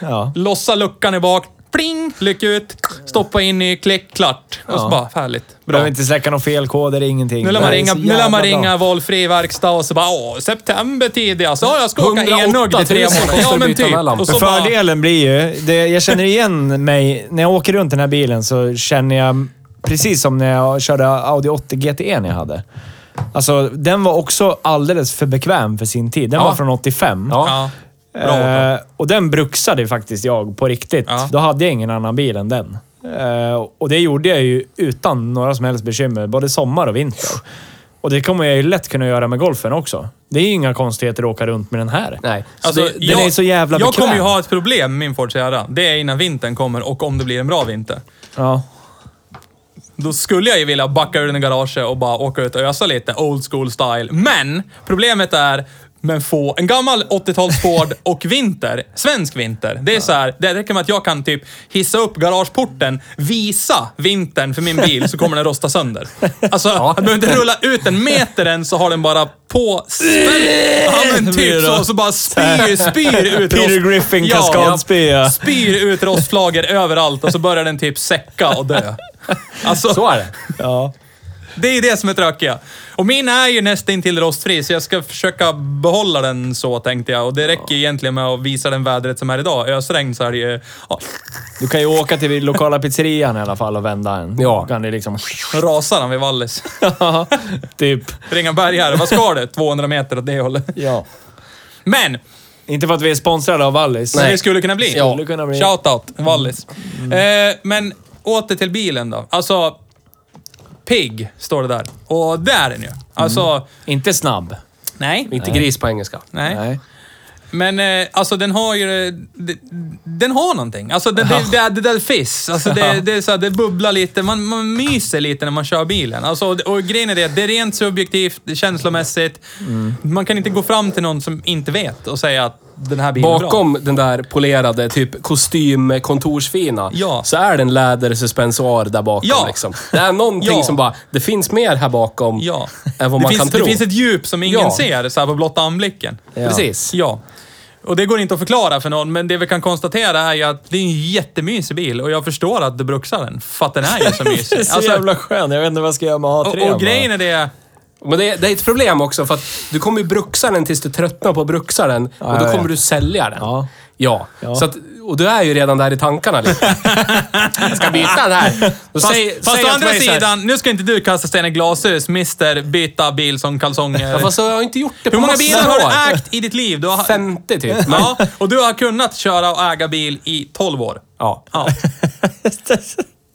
Ja.
Lossa luckan i bak. Pling! Lyck ut. Stoppa in i klick, klart. Och så bara, härligt. Bra.
Behöver inte släcka några felkoder, ingenting.
Nu lär man
Det är
ringa,
så
nu lär man
jävla bra.
ringa valfri verkstad och så bara, åh, september tidigast. Ja, jag ska åka
108 000
enögd i tre månader.
kostar
Ja,
att
men
byta
typ.
den här lampan.
Och så bara,
Fördelen blir ju, det, jag känner igen mig, när jag åker runt den här bilen så känner jag precis som när jag körde Audi 80 GT E jag hade. Alltså, den var också alldeles för bekväm för sin tid. Den
Ja.
var från 85.
ja. Bra.
Eh, och den bruxade faktiskt jag på riktigt.
Ja.
Då hade jag ingen annan bil än den. Eh, och det gjorde jag ju utan några som helst bekymmer, både sommar och vinter. Och det kommer jag ju lätt kunna göra med golfen också. Det är ju inga konstigheter att åka runt med den här.
Nej. Så
Alltså,
det,
den är så jävla
Jag
bekväm.
kommer ju ha ett problem med min Ford Sierra. Det är innan vintern kommer och om det blir en bra vinter.
Ja.
Då skulle jag ju vilja backa ur den i garaget och bara åka ut och ösa lite old school style. Men problemet är, men få en gammal 80-tals Ford och vinter, svensk vinter. Det är så här, det räcker med att jag kan typ hissa upp garageporten, visa vintern för min bil så kommer den rosta sönder. Alltså, jag behöver inte rulla ut en meter än så har den bara på... Ja men typ så, så bara spyr, spyr ut
Peter
rost-
Griffin kaskadspya.
Spyr ut rostflagor överallt och så börjar den typ säcka och dö. Alltså,
så är det.
ja.
det är ju det som är tråkiga. Och min är ju nästintill rostfri, så jag ska försöka behålla den så, tänkte jag. Och det räcker ju egentligen med att visa den vädret som är idag. Ösregn så är det ju... Ja,
Du kan ju åka till lokala pizzerian i alla fall och vända en.
Ja.
Då Kan det liksom...
rasar han vid Wallis.
typ.
Ringa bergare. Vad ska det? 200 meter åt det hållet.
Ja.
Men!
Inte för att vi är sponsrade av Wallis.
Nej. Det skulle kunna bli.
Skulle kunna bli. Mm.
Shoutout, Wallis. Eh, men åter till bilen då. Alltså... Pigg, står det där. Och där är den ju. Alltså...
Mm. Inte snabb.
Nej.
Inte gris på engelska.
Nej.
Nej.
Men eh, alltså den har ju... eh, d- Den har någonting. Alltså det, det, det, är- det där är fiss. Alltså det, det, är så här, det bubblar lite. Man, man myser lite när man kör bilen. Alltså, och, och grejen är det, det är rent subjektivt, det är känslomässigt.
Mm.
Man kan inte gå fram till någon som inte vet och säga att den här bilen är bra.
Bakom den där polerade typ kostym-kontorsfina
Ja.
så är det en lädersuspensoar där bakom.
Ja.
Liksom. Det är någonting
Ja.
som bara, det finns mer här bakom
Ja.
än vad
det
man
finns,
kan tro.
Det finns ett djup som ingen
Ja.
ser så här på blotta anblicken.
Ja.
Precis.
Ja. Och det går inte att förklara för någon, men det vi kan konstatera är ju att det är en jättemysig bil och jag förstår att du bruxar den, för att den är ju så
Det
mysig.
är så
Alltså,
jävla skön. Jag vet inte vad jag ska göra med A3.
och, och grejen är det...
Men det, är- det är ett problem också för att du kommer ju bruxa den tills du tröttnar på att bruxa den och
jag
då
vet.
kommer du sälja den.
Ja.
Ja. Så att, och du är ju redan där i tankarna lite. Jag ska byta den här. Då
Fast,
säg-
fast
säg
å
åt
andra
mig så här,
sidan, nu ska inte du kasta sten i glashus, mister byta bil som kalsonger.
Ja, fast jag har inte gjort det
Hur
på
många
massor
bilar har
av år.
du ägt i ditt liv? Du har,
50 typ. Men,
ja, och du har kunnat köra och äga bil i 12 år.
ja.
Ja.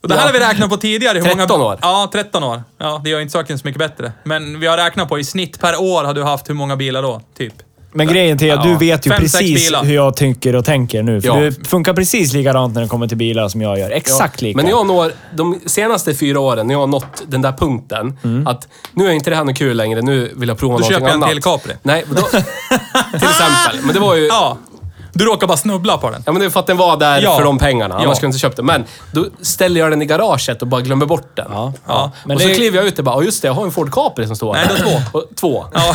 Och det här har vi räknat på tidigare. Hur
13
många...
år.
Ja, 13 år. Ja, det gör inte saken så mycket bättre. Men vi har räknat på i snitt per år har du haft hur många bilar då? Typ.
Men grejen till att du
Ja.
vet ju
Fem, sex
precis
bilar.
hur jag tycker och tänker nu. För
Ja.
du funkar precis likadant när det kommer till bilar som jag gör. Exakt lika.
Men jag når, de senaste fyra åren, när jag har nått den där punkten,
Mm.
att nu är inte det här något kul längre, nu vill jag prova någonting
köper jag en
annat.
till Capri.
Nej, men då, till exempel. Men det var ju...
Ja. Du råkar bara snubbla på den.
Ja, men det är för att den var där
Ja.
för de pengarna. Annars
Ja.
skulle jag inte köpt den. Men då ställer jag den i garaget och bara glömmer bort den.
Ja.
Ja.
Men
och så
det-
kliver jag ut och bara, "Ja, just det, jag har en Ford Capri som står
Nej, det är
två. Och, två.
Ja.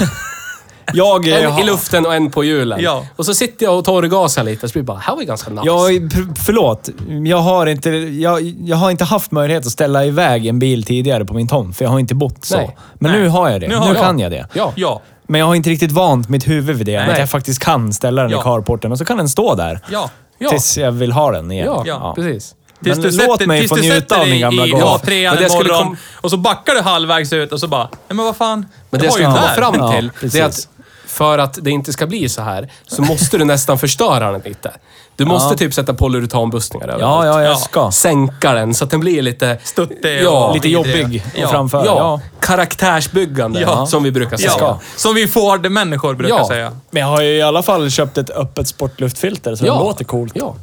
Jag, eh,
En
jag,
i luften och en på hjulen.
Ja.
Och så sitter jag och torrgasar lite, så blir det bara, här var ju ganska nice.
jag, pr- förlåt. Jag har, inte, jag, jag har inte haft möjlighet att ställa iväg en bil tidigare på min tomt, för jag har inte bott så.
Nej.
Men nu har jag det. Nu,
har du.
kan jag det.
Ja.
Ja.
Men jag har inte riktigt vant mitt huvud vid det. Att jag faktiskt kan ställa den i
Ja.
carporten och så kan den stå där.
Ja.
Ja.
Tills jag vill ha den igen.
ja,
Ja.
precis.
Tills
Men
du
låt
sätter,
mig
tills
få
du
njuta
sätter
av
dig
min gamla
i
golf.
Men
A3
det
en
skulle
morgon
kom-
och så backar du halvvägs ut och så bara, nej men vad fan.
Men
det
det jag
var ju
skulle komma
där.
fram
Ja,
till, det är
precis.
att för att det inte ska bli så här, så måste du nästan förstöra den lite. Du måste typ sätta polyuretanbussningar
Ja, ja, jag
Ja.
ska.
Sänka den så att den blir lite...
Stuttig
Ja,
och
Lite
vidrig.
jobbig
Ja.
och framför.
Ja,
Ja.
karaktärsbyggande,
Ja.
som vi brukar säga.
Ja. Som vi Ford-människor brukar
Ja.
säga.
Men jag har ju i alla fall köpt ett öppet sportluftfilter så det
Ja.
låter coolt.
Ja.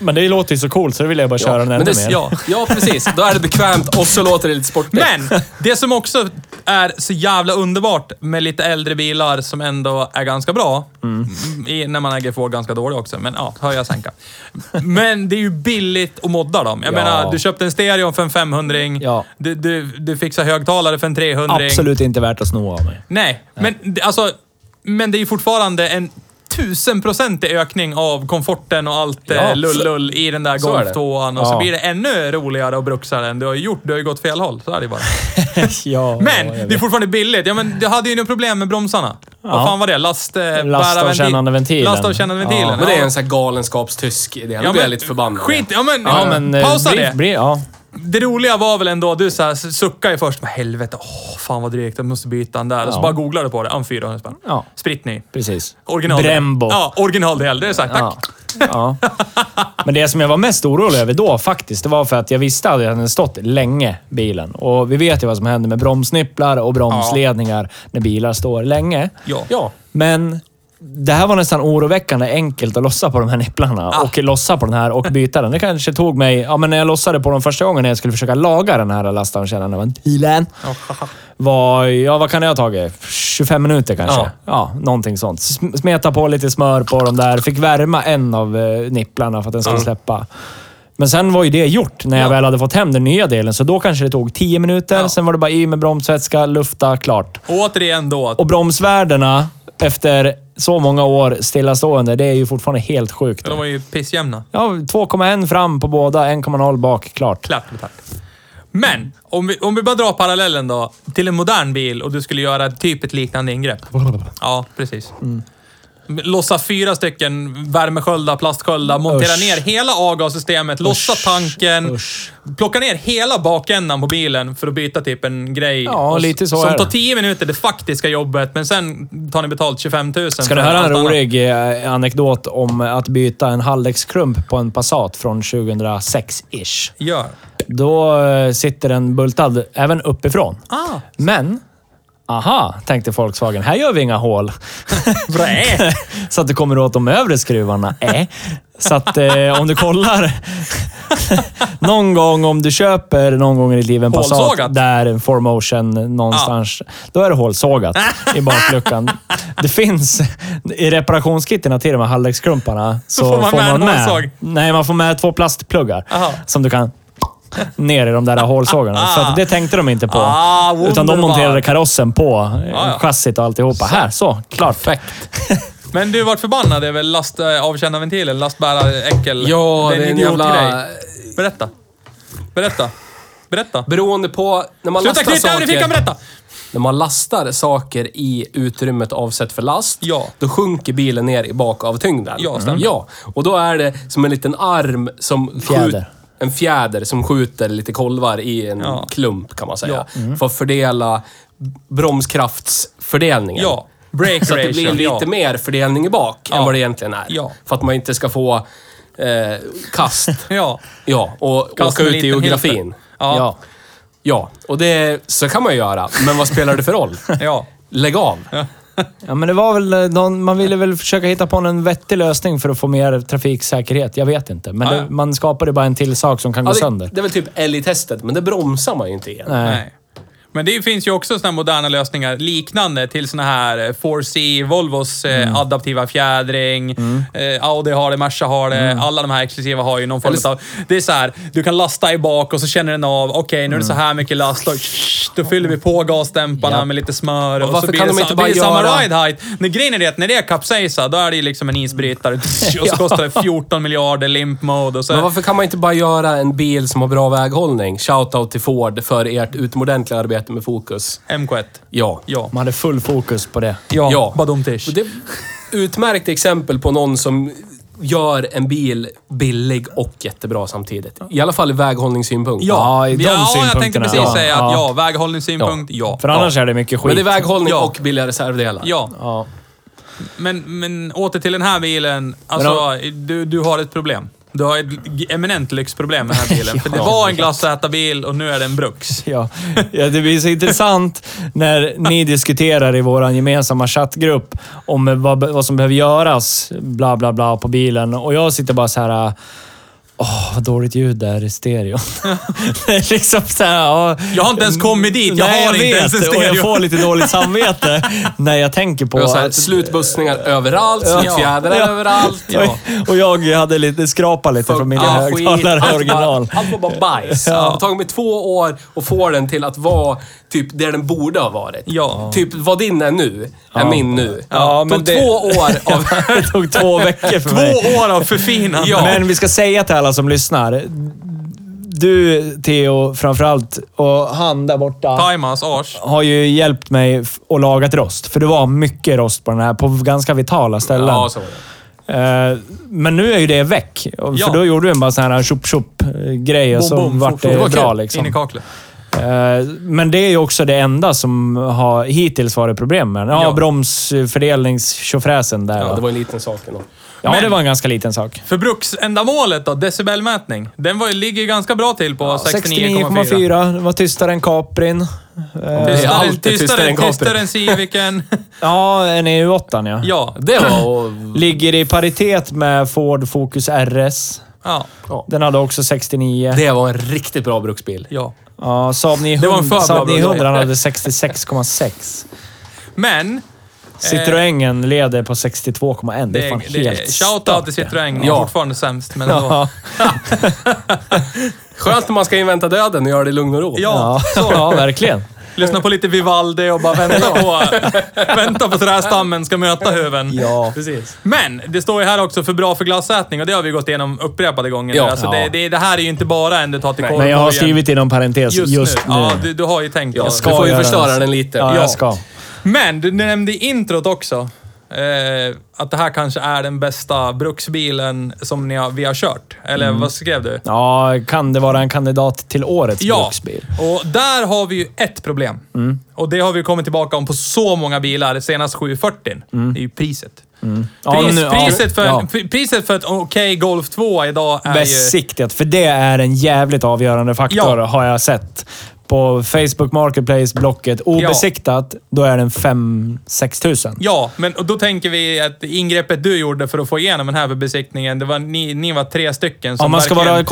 Men det låter ju så coolt så det vill jag bara köra den
Men
ännu
det,
mer.
ja. ja, precis. Då är det bekvämt och så låter det lite sportigt.
Men det som också är så jävla underbart med lite äldre bilar som ändå är ganska bra, i, när man äger Ford ganska dåligt också, men ja, höja sänka. Men det är ju billigt att modda dem. Jag
Ja.
menar, du köpte en stereo för en 500-ring,
Ja.
du, du, du fixar högtalare för en 300-ring.
Absolut inte värt att sno av mig.
Nej, men det- alltså, men det är ju fortfarande en tusenprocentig ökning av komforten och allt
Ja,
ja, lull-lull i den där
så är det.
golftåan och
Ja.
så blir det ännu roligare att bruxa den. Du har ju gjort, du har ju gått fel håll. Så är det bara.
ja,
Men
ja, jag
det är
vet.
fortfarande billigt. Ja, men du hade ju några problem med bromsarna. Vad fan var det? Last... Eh,
Lastavkännande ventilen.
Lastavkännande
Ja.
ventilen.
men det är en sån här galenskapstysk idé. Då blir jag lite förbannad.
Skit Ja men,
Ja, men, eh,
pausa
bli-
det.
bli- ja.
Det roliga var väl ändå, du så här, suckade ju först. Bara, Helvete, åh, fan vad drygt. Jag måste byta den där. Och så
Ja.
bara googlade du på det. Om 400 spänn.
Ja.
Spritt ny.
Precis.
Original.
Brembo.
Ja, originaldel. Det är såhär,
Ja.
tack.
Ja. Men det som jag var mest orolig över då faktiskt, det var för att jag visste att den hade stått länge, bilen. Och vi vet ju vad som händer med bromsnipplar och bromsledningar när bilar står länge.
Ja.
Ja.
Men det här var nästan oroväckande enkelt att lossa på de här nipplarna
Ah.
och lossa på den här och byta den. Det kanske tog mig... Ja, men när jag lossade på dem första gången när jag skulle försöka laga den här lastankännande ventilen. Var, ja, vad kan det ha tagit? 25 minuter kanske?
Ja.
Ja, någonting sånt. Sm- Smeta på lite smör på dem där. Fick värma en av eh, nipplarna för att den skulle släppa. Men sen var ju det gjort när jag väl hade fått hem den nya delen, så då kanske det tog 10 minuter. Sen var det bara i med bromsvätska, lufta, klart.
Och återigen då.
Och bromsvärdena efter så många år stillastående, det är ju fortfarande helt sjukt.
De var ju pissjämna.
Ja, 2,1 fram på båda, 1,0 bak. Klart.
Klart betalt. Men, om vi, om vi bara drar parallellen då. Till en modern bil och du skulle göra typ ett liknande ingrepp. Ja, precis. Mm. Lossa fyra stycken värmesköldar, plastsköldar, montera
Usch.
ner hela avgassystemet, lossa tanken,
usch.
plocka ner hela bakändan på bilen för att byta typ en grej.
Ja,
s-
lite så
Som
är det.
tar 10 minuter, det faktiska jobbet, men sen tar ni betalt 25 000.
Ska du höra en rolig eh, anekdot om att byta en Hallex-krump på en Passat från 2006-ish?
Gör.
Då eh, sitter den bultad även uppifrån.
Ah.
Men Aha, tänkte Volkswagen. Här gör vi inga hål.
eh.
Nej. Så att du kommer åt de övre skruvarna. Äh. Så att eh, om du kollar någon gång, om du köper någon gång i ditt liv en Passat
Hålsågat.
där en 4Motion någonstans, då är det hålsågat i bakluckan. Det finns i reparationskitterna till de här halvlekskrumparna. Så,
får man med en hålsåg?
Nej, man får med två plastpluggar
Aha.
som du kan ner i de där hålsågarna. Så att det tänkte de inte på.
Ah,
Utan de
wunderbar.
monterade karossen på eh,
Ja, ja.
chassit och alltihopa. Här, så. Klart.
Men du vart förbannad över eh, lastavkännarventilen, lastbäraräckel.
Ja, det är en jävla-
idiotgrej. Berätta. Berätta. Berätta.
Beroende på... När man
Sluta
lastar
knyta över i fickan,
saker,
berätta!
när man lastar saker i utrymmet avsett för last,
Ja.
då sjunker bilen ner i bakavtyngden.
Ja, stämmer.
ja, och då är det som en liten arm som...
Fjäder.
skjut- en fjäder som skjuter lite kolvar i en
Ja.
klump kan man säga. För att fördela bromskraftsfördelningen.
Ja. Break
Så att det blir
ratio,
lite
ja.
mer fördelning i bak än vad det egentligen är.
Ja.
För att man inte ska få eh, kast.
Ja.
ja, och
Kast
åka
med
ut i
liten
geografin.
hilter. Ja.
Ja.
Ja, och det, så kan man ju göra. Men vad spelar det för roll?
Ja.
Lägg av.
ja, men det var väl eh, någon, man ville väl försöka hitta på en vettig lösning för att få mer trafiksäkerhet. Jag vet inte, men
Ja,
det,
ja.
man skapade bara en till sak som kan gå
Ja, det,
sönder.
det är väl typ älgtestet, men det bromsar man ju inte igen.
Nej.
Nej. Men det finns ju också såna här moderna lösningar liknande till såna här eh, 4C, Volvos eh,
Mm.
adaptiva fjädring, eh, Audi har det, Merca har det, alla de här exklusiva har ju någon form
Mm. Eller-
av... Det är så här, du kan lasta i bak och så känner den av, okej nu
Mm.
är det så här mycket last och shh, då fyller vi på gasdämparna med lite smör och,
varför
så blir
kan
det,
de
sa-
inte bara
blir det
göra-
samma ride height. Men grejen är det att när det är kapsejsa, då är det ju liksom en isbrytare och så kostar det 14 miljarder limp mode och så...
Men varför kan man inte bara göra en bil som har bra väghållning? Shoutout till Ford för ert utomordentliga arbete med fokus.
MK1.
Ja.
Ja.
Man hade full fokus på det.
Ja,
Ja.
badumtish.
Och Det är utmärkt exempel på någon som gör en bil billig och jättebra samtidigt. I alla fall i väghållningssynpunkt.
Ja, i de
jag tänkte
synpunkterna.
precis
Ja,
säga att
ja.
ja, väghållningssynpunkt, ja.
För annars är det mycket skit.
Men det är väghållning
Ja.
och billiga reservdelar.
Ja,
ja.
men, men åter till den här bilen. Alltså, du, du har ett problem. Du har ett g- eminent lyxproblem med den här bilen. För det
Ja,
var en
exakt.
glassätarbil och nu är det en Bruks.
Ja. ja, det blir så intressant när ni diskuterar i vår gemensamma chattgrupp om vad, vad som behöver göras, bla bla bla, på bilen. Och jag sitter bara så här... Åh, vad dåligt ljud det är i stereon. Det är liksom så här, ja.
Jag har inte ens kommit dit. Jag
Nej,
har inte ens en
vet, Och jag
stereo.
får lite dåligt samvete när jag tänker på...
Och så här,
att-
slutbussningar överallt, slutfjädrar
Ja.
överallt.
Ja.
Och jag hade lite, skrapa lite från mina
Fucka skit.
högtalare
Allt bara-
original.
Allt var bara bajs. Det har tagit mig två år att få den till att vara typ där den borde ha varit.
Ja.
Typ vad din är nu, är min nu.
Ja,
Tog
men det-
två år av...
Det tog två veckor för mig.
Två år av förfinande.
Men vi ska säga till alla som lyssnar. Du, Theo, framförallt, och han där borta
Timas, ars.
har ju hjälpt mig f- och lagat rost. För det var mycket rost på den här, på ganska vitala ställen.
Ja, så var det.
Eh, Men nu är ju det väck. Och-
Ja.
För då gjorde vi en bara sån här tjopp tjopp eh, grej och så vart det,
Det var
bra.
kul.
Liksom.
In i kaklet.
Eh, Men det är ju också det enda som har hittills varit problem med den. Ja,
Ja.
bromsfördelningstjofräsen där.
Ja,
va?
det var en liten sak ändå.
ja,
Men-
det var en ganska liten sak.
Förbruksändamålet då? Decibelmätning. Den var, ju- ligger ganska bra till på 69,4.
69,4. Det var tystare än Caprin.
Det är
Tystare,
alltid tystare
Eh, tystare,
än Capri.
tystare än Civicen.
Ja, en EU8 ja.
Ja.
Det var... Och,
Ligger i paritet med Ford Focus RS.
ja.
Den hade också 69.
det var en riktigt bra bruksbil.
Ja.
Ja, Saab 900,
Det var en för bra
Saab
bra
900 hade 66,6.
Men
Citroengen leder på 62,1. Det är
Det,
fan
det,
helt
Shoutout till
stört, det.
Citroën. Ja.
Ja.
Fortfarande sämst, men ändå.
Ja,
Skönt när man ska invänta döden och göra det i lugn och ro.
Ja,
ja, ja, verkligen.
lyssna på lite Vivaldi och bara vänta på, vänta på trästammen ska möta höven.
Ja.
precis.
Men det står ju här också för bra för glassätning och det har vi gått igenom upprepade gånger.
Ja.
Alltså
Ja.
det, det, det här är ju inte bara en du tar till korvborgen.
Men jag har skrivit inom parentes just, nu.
Ja, du, du har ju tänkt. då.
Du får ju
göra
förstöra
det.
den lite.
Ja,
Ja.
jag ska.
Men du nämnde i introt också. Eh, att det här kanske är den bästa bruksbilen som ni har, vi har kört. Eller
Mm.
vad skrev du?
Ja, kan det vara en kandidat till årets bruksbil? Mm.
och där har vi ju ett problem. Och det har vi kommit tillbaka om på så många bilar, senast 740. Det är ju priset.
Mm. Ja,
Pris,
nu- ja.
priset, för,
Ja.
pri- priset för ett okej Golf 2 idag är ju...
Besiktigat, för det är en jävligt avgörande faktor
Ja.
har jag sett. På Facebook Marketplace, Blocket, obesiktat, då är den 5-6 tusen.
Ja, men och då tänker vi att ingreppet du gjorde för att få igenom den här besiktningen, det var, ni, ni var tre stycken som
Om man ska
verkligen-
vara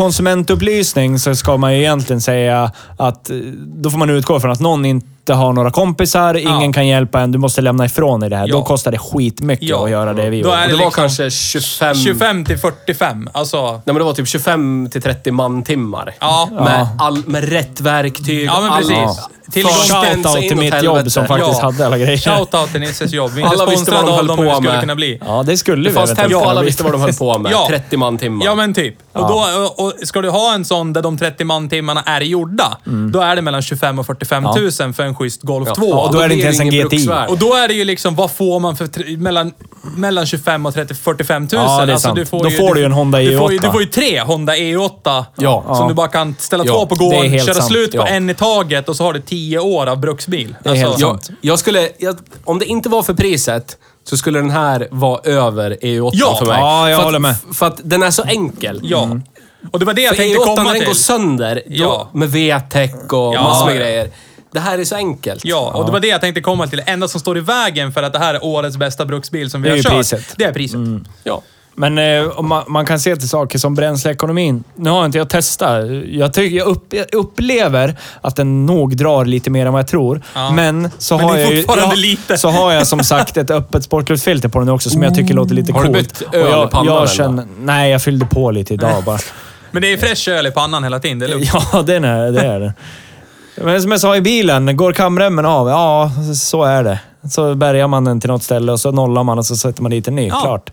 konsumentupplysning så ska man ju egentligen säga att eh, då får man utgå från att någon inte har några kompisar, ingen kan hjälpa en, du måste lämna ifrån dig det här.
Ja.
Då kostar det skitmycket
Ja.
att göra det vi
Då
gjorde.
är
Det,
det
var
liksom
kanske 25...
25 till 45. Alltså,
Nej, men det var typ 25 till 30 mantimmar.
Ja.
Med, all, med rätt verktyg.
Ja, men
all-
precis.
Ja.
Tillgång-
Förstens och
Shoutout till
inåt
mitt
helvete.
jobb som faktiskt
Ja.
hade alla grejer.
shout-out till Nisses jobb. Vi är inte
Alla visste vad
sponsrade
de
av
höll
dem, men
på
vi skulle
med.
kunna bli.
Ja, det skulle
Det
vi
fanns
eventuellt
tempo,
kunna
alla
bli.
visste vad de höll på med.
Ja.
30 mantimmar.
Ja, men typ. Och, då, och, och ska du ha en sån där de 30 mantimmarna är gjorda, då är det mellan 25 och 45 tusen för en schysst Golf 2.
Mm. och då är det inte ens en GTI.
Och då är det ju liksom, vad får man för tre, mellan, mellan 25 och 30, 45 tusen? Alltså,
Ja, det är sant. Då får du ju en Honda E
Du får, ju,
E8.
du får ju tre Honda E8
Ja.
som
Ja.
du bara kan ställa
Ja,
två på
det är
gården,
helt
köra
sant.
slut på
Ja.
en i taget och så har du tio år av bruksbil. Alltså-
Det är helt
jag, jag skulle... Jag, om det inte var för priset så skulle den här vara över EU8
Ja.
för mig.
Ja, jag
för att,
håller med.
För att den är så enkel. Mm.
Ja. Mm. Och det var det jag
För
tänkte
EU8
komma
när den går
till.
sönder, då,
Ja.
med VTEC och
Ja.
massor med grejer. Det här är så enkelt.
Ja, och det var det jag tänkte komma till. Det enda som står i vägen för att det här är årets bästa bruksbil som vi
Det är
har
ju
kört,
priset. Mm.
det är priset.
Ja.
Men eh, om man, man kan se till saker som bränsleekonomin. Nu har inte jag testat. Jag, tycker, jag, upp, jag upplever att den nog drar lite mer än vad jag tror.
Ja.
Men så
Men det
har
är
jag ju,
fortfarande
jag,
lite.
Så har jag som sagt ett öppet sportklubbsfilter på den också som jag tycker låter lite
Har du
coolt.
bytt öl i
jag,
pannan eller?
jag känner, Nej, jag fyllde på lite idag bara.
Men det är fräsch öl i pannan hela tiden, det är lugnt.
Ja, den är, det är det. Men som jag sa i bilen, går kamremmen av? Ja, så är det. Så bärgar man den till något ställe och så nollar man och så sätter man dit en ny.
Ja.
Klart.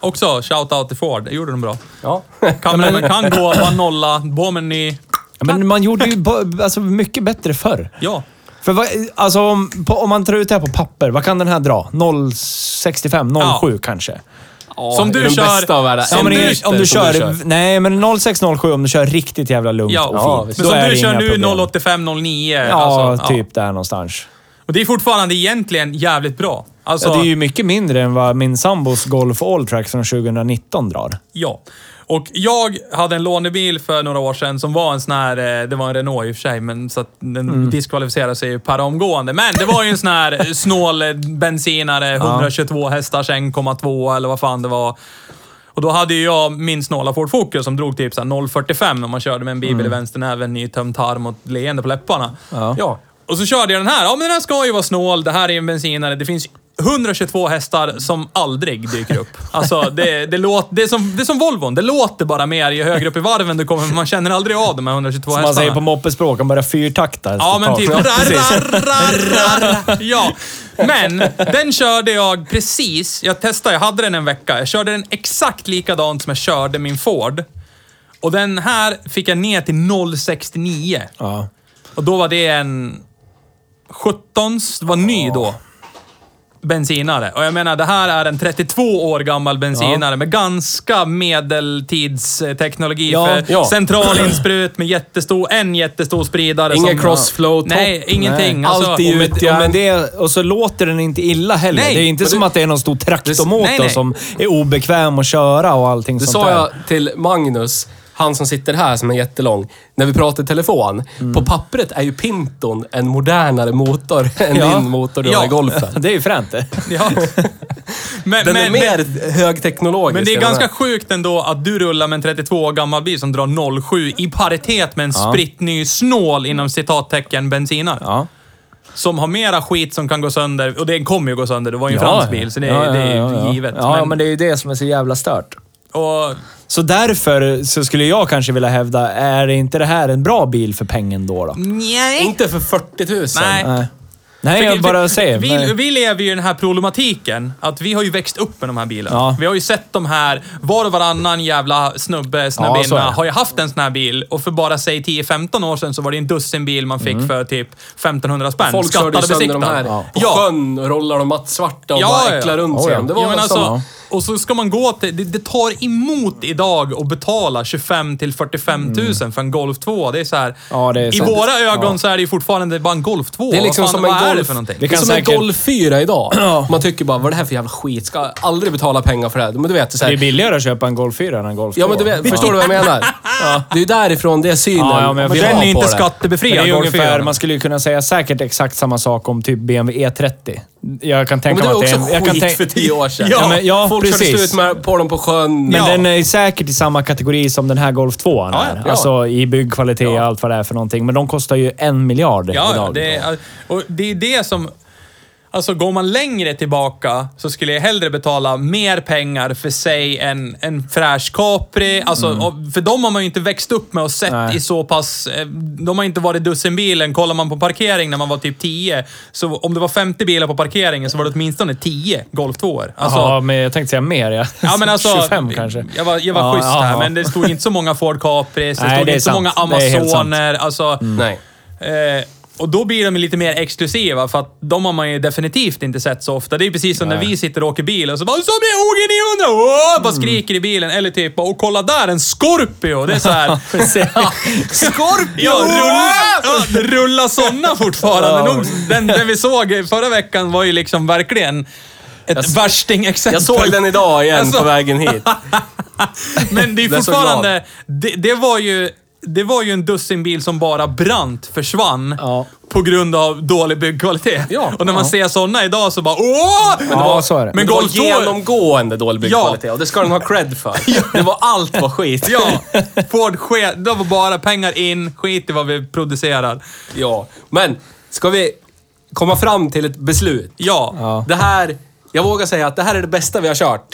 Också shout-out till Ford, det gjorde de bra.
Ja.
Kan, man kan gå, bara nolla, på med en ny...
Ja,
Ah.
Men man gjorde ju bo- alltså, mycket bättre förr.
Ja.
För vad, alltså om, på, om man tar ut det här på papper, vad kan den här dra? 0,65, 07 kanske?
Som du
den
kör-
Bästa av världar.
som
Ja, men
du-
ingen-
som
om du kör, Nej, men 0607 om du kör riktigt jävla lugnt
ja.
och
Men
fint.
som
Då är
du
det
kör
inga
nu,
problem.
08509.
Ja,
alltså,
typ där någonstans.
Och det är fortfarande egentligen jävligt bra. Alltså,
Ja, det är ju mycket mindre än vad min sambos Golf Alltrack från 2019 drar.
Ja. Och jag hade en lånebil för några år sedan som var en sån här, eh, det var en Renault i och för sig, men så att den diskvalificerade sig ju per omgående. Men det var ju en sån här snål eh, bensinare, 122 hästars 1,2 eller vad fan det var. Och då hade ju jag min snåla Ford Focus som drog typ så här 0,45 när man körde med en bibel i vänsternäven, nytömd tarm och ett leende på läpparna.
Mm. Ja.
Ja.
Och så körde jag den här. Ja, men den här ska ju vara snål. Det här är en bensinare. Det finns 122 hästar som aldrig dyker upp. Alltså, det, det, låt, det, är som, det är som Volvon. Det låter bara mer ju högre upp i varven du kommer. för Man känner aldrig av de här 122
Som man
hästarna.
säger på moppespråk, han börjar fyrtakta.
Ja, men typ...
Ja,
Rar,
precis.
rar, rar, rar. Ja. Men den körde jag precis. Jag testade, jag hade den en vecka. Jag körde den exakt likadant som jag körde min Ford. Och den här fick jag ner till 0,69.
Ja.
Och då var det en 17 det var ny då. Bensinare. Och jag menar, det här är en 32 år gammal bensinare med ganska medeltidsteknologi.
Ja,
för
ja.
Centralinsprut med jättestor, en jättestor spridare.
Ingen
som-
crossflow,
Nej,
topp.
ingenting.
Nej.
Alltså,
Allt är
och
ju
med-
ett, och, med det, och så låter den inte illa heller.
Nej,
det är inte
men
som
det-
att det är någon stor
Det- nej,
traktormotor
nej.
som är obekväm att köra och allting
Det
sånt
sa
där.
jag till Magnus, han som sitter här som är jättelång, när vi pratade i telefon. På pappret är ju Pinton en modernare motor än
Ja.
din motor du
Ja.
har i golfen.
Det är ju fränt det.
Ja. Men,
Den är
men,
mer högteknologisk.
men det är
än
ganska
den här.
sjukt ändå att du rullar med en 32 år gammal bil som drar 07 i paritet med en
Ja.
spritt ny snål inom citattecken bensinare.
Ja.
som har mera skit som kan gå sönder. Och den kommer ju gå sönder. Det var ju en fransk bil, så det,
Ja,
är-
ja,
det är ju
ja, ja.
givet.
Ja, men... det är ju det som är så jävla stört.
och,
Så därför så skulle jag kanske vilja hävda, är inte det här en bra bil för pengen då?
Mm.
då?
nej.
Inte för 40 000.
Nej.
Nej. Nej, jag bara säger.
Vi, vi lever ju i den här problematiken, att vi har ju växt upp med de här bilarna.
Ja.
Vi har ju sett de här, var och varannan jävla snubbe,
Ja, så
snubbinna,
är det.
har ju haft en sån här bil. Och för bara säg 10-15 år sedan så var det en dussinbil man
Mm.
fick för typ 1500 spänn.
Folk körde ju
Skattade
sönder de
besiktad.
här på
Ja.
sjön och rollar dem mattsvarta och
Ja,
bara
ja.
äcklar runt
Oh,
sig.
ja.
Det
Ja,
var
men
väl
alltså,
samma.
och så ska man gå till... Det, det tar emot idag att betala 25 till 45 000 för en Golf 2. Det är så här...
Ja, det är
I
sant.
våra ögon
Ja.
så är det ju fortfarande bara en Golf 2.
Det är liksom
vad fan,
som en
vad är det
golf,
för någonting?
Det
det är
kan
som
säkert-
en golf 4 idag. Man tycker bara, vad är det här för jävla skit? Ska aldrig betala pengar för det här. Men du vet, så
Det är
här,
billigare att köpa en Golf 4 än en Golf 2.
ja, men du vet, förstår du vad jag menar? Det är ju därifrån det är synen.
Ja, ja, men jag
man
vet.
har
Den är
bra
på
inte
Men
det.
det är
skattebefriad,
ju
Golf
ungefär,
4.
man skulle ju kunna säga säkert exakt samma sak om typ BMW E30. Jag kan
Men
tänka
det
mig
var
att det
också
är... en- Jag kan
skit
tänk-
för tio år sedan.
Ja, men, ja
Folk körde
precis.
slut med, på dem på sjön.
Men
Ja.
den är säkert i samma kategori som den här Golf 2
Ja,
är.
ja.
Alltså i byggkvalitet och allt vad det är för någonting. Men de kostar ju en miljard
Ja, ja,
idag.
det är, och det är det som... Alltså går man längre tillbaka så skulle jag hellre betala mer pengar för sig än en fräsch Capri. Alltså, och, för de har man ju inte växt upp med och sett
Nej.
i så pass... eh, De har inte varit dussinbilen. Kollar man på parkering när man var typ 10, så om det var 50 bilar på parkeringen så var det åtminstone 10 Golf 2 alltså,
ja, men jag tänkte säga mer. Ja,
Ja, men alltså,
25 kanske.
Jag var, jag var
Ja,
schysst
ja,
här,
ja.
men det stod inte så många Ford Capris, det
Nej,
stod
det är
inte så
sant.
många
Det är helt sant. Mm.
Amazoner. Alltså,
Nej.
Eh, och då blir de lite mer exklusiva, för att de har man ju definitivt inte sett så ofta. Det är ju precis som när vi sitter och åker bil och så bara “Som är OG 900!” Åh!
Mm.
Bara skriker i bilen. Eller typ “Och kolla där, en Scorpio!” Det är såhär... Scorpio! Ja, rulla, ja, det rullar sådana fortfarande. De, den, den vi såg förra veckan var ju liksom verkligen ett värstingexempel.
Jag såg den idag igen
Alltså.
på vägen hit.
Men det är
Jag är så
fortfarande... Det, det var ju... Det var ju en dussinbil som bara brant försvann
Ja.
på grund av dålig byggkvalitet.
Ja.
och när man ser sådana idag så bara åh! Men,
Ja, så är det.
men
Det var
Golf 2...
genomgående dålig byggkvalitet och det ska den ha cred för. Det var allt var skit.
Ja, Ford ske, det var bara pengar in, skit i vad vi producerar.
Ja, men ska vi komma fram till ett beslut?
Ja.
Det här, jag vågar säga att det här är det bästa vi har kört.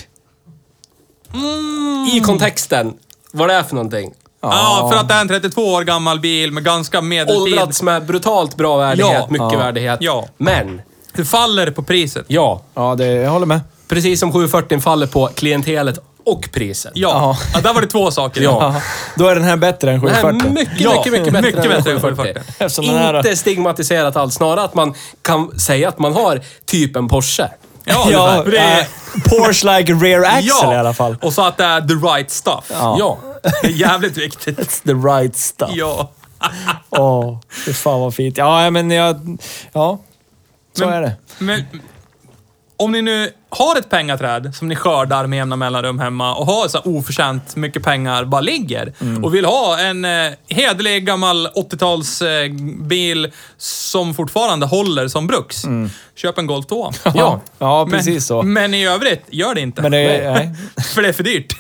Mm.
I kontexten, vad det är för någonting.
Ja. för att det är en 32 år gammal bil med ganska medeltid.
Åldrats med brutalt bra värdighet,
Ja.
mycket
Ja.
värdighet.
Ja.
Men,
Det faller på priset.
ja.
Ja, det, jag håller med.
Precis som 740 faller på klientelet och priset.
Ja.
Ja.
ja, där var det två saker.
Ja.
Då är den här bättre än
Det här
740.
är mycket,
Ja,
mycket, mycket bättre
mycket
än
bättre än
740.
740.
Eftersom den här-
Inte stigmatiserat alls. Snarare att man kan säga att man har typ en Porsche.
Ja,
ja,
det är,
eh, Porsche like rear axle i alla fall.
Och så att det är the right stuff.
Ja.
Det är jävligt viktigt.
It's the right stuff.
Ja.
Åh, det fan vad fint. Ja, men jag... Ja, så är det.
Men om ni nu har ett pengaträd som ni skördar med jämna mellanrum hemma och har så här oförtjänt mycket pengar bara ligger och vill ha en eh, hederlig gammal 80-talsbil eh, bil som fortfarande håller som bruks. Köp en Golf 2.
Mm. Ja, ja precis
men, Mm.
så.
Men i övrigt, gör det inte.
Men det, nej.
För det är för dyrt.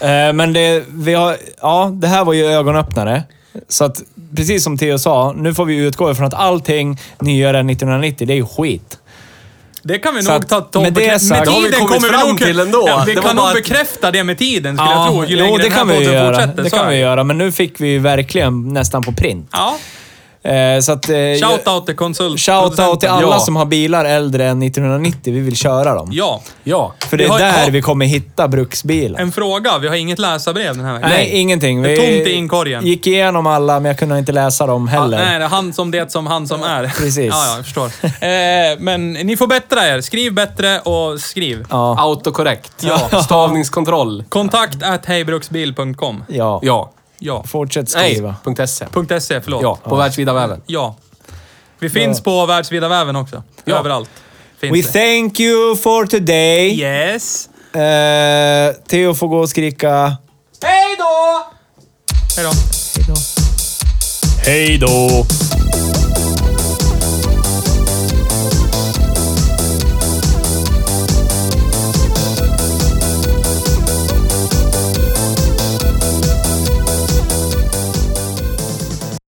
Eh, Men det, vi har, ja, det här var ju ögonöppnare. Så att, precis som Theo sa, nu får vi utgå ifrån att allting nyare än 1990, det är ju skit.
Det kan vi
Så
nog
att
ta Tobbe
med det
Krä-
sagt- Det har vi
tiden
kommit
kommer vi
fram
nog kun-
till ändå.
Ja, vi
Det var
kan nog
bara-
bekräfta det med tiden, skulle jag tro. Ju
jo,
längre
det
den här
kan vi ju
podden
göra.
fortsätter,
Det
så
kan
är
vi
det.
göra, men nu fick vi ju verkligen nästan på print.
Ja.
Eh, Så att, eh,
Shoutout till konsult.
Shoutout till alla
Ja.
som har bilar äldre än 1990. Vi vill köra dem.
Ja.
Ja.
För det
Vi
är
har-
där
ja.
vi kommer hitta bruksbilen.
En fråga. Vi har inget läsarbrev den här veckan.
Nej, ingenting.
Det
Vi
är tomt i inkorgen.
gick igenom alla, men jag kunde inte läsa dem
Ja,
heller.
nej, det är han som det som han som är.
precis.
Ja, ja, jag förstår. Eh, men ni får bättra er. Skriv bättre och skriv.
Ja.
Autokorrekt. Ja. Stavningskontroll.
Kontakt at hejbruksbil.com.
Ja.
Ja.
Ja.
Fortsätt
Nej.
skriva.
Punkt .se.
Punkt .se, förlåt.
Ja. På världsvida väven.
Ja. Vi finns på världsvida väven också.
Ja.
Överallt.
We
Finns det.
thank you for today.
Yes.
Eh, Theo får gå och skrika...
Hej då! Hej då.
Hej då!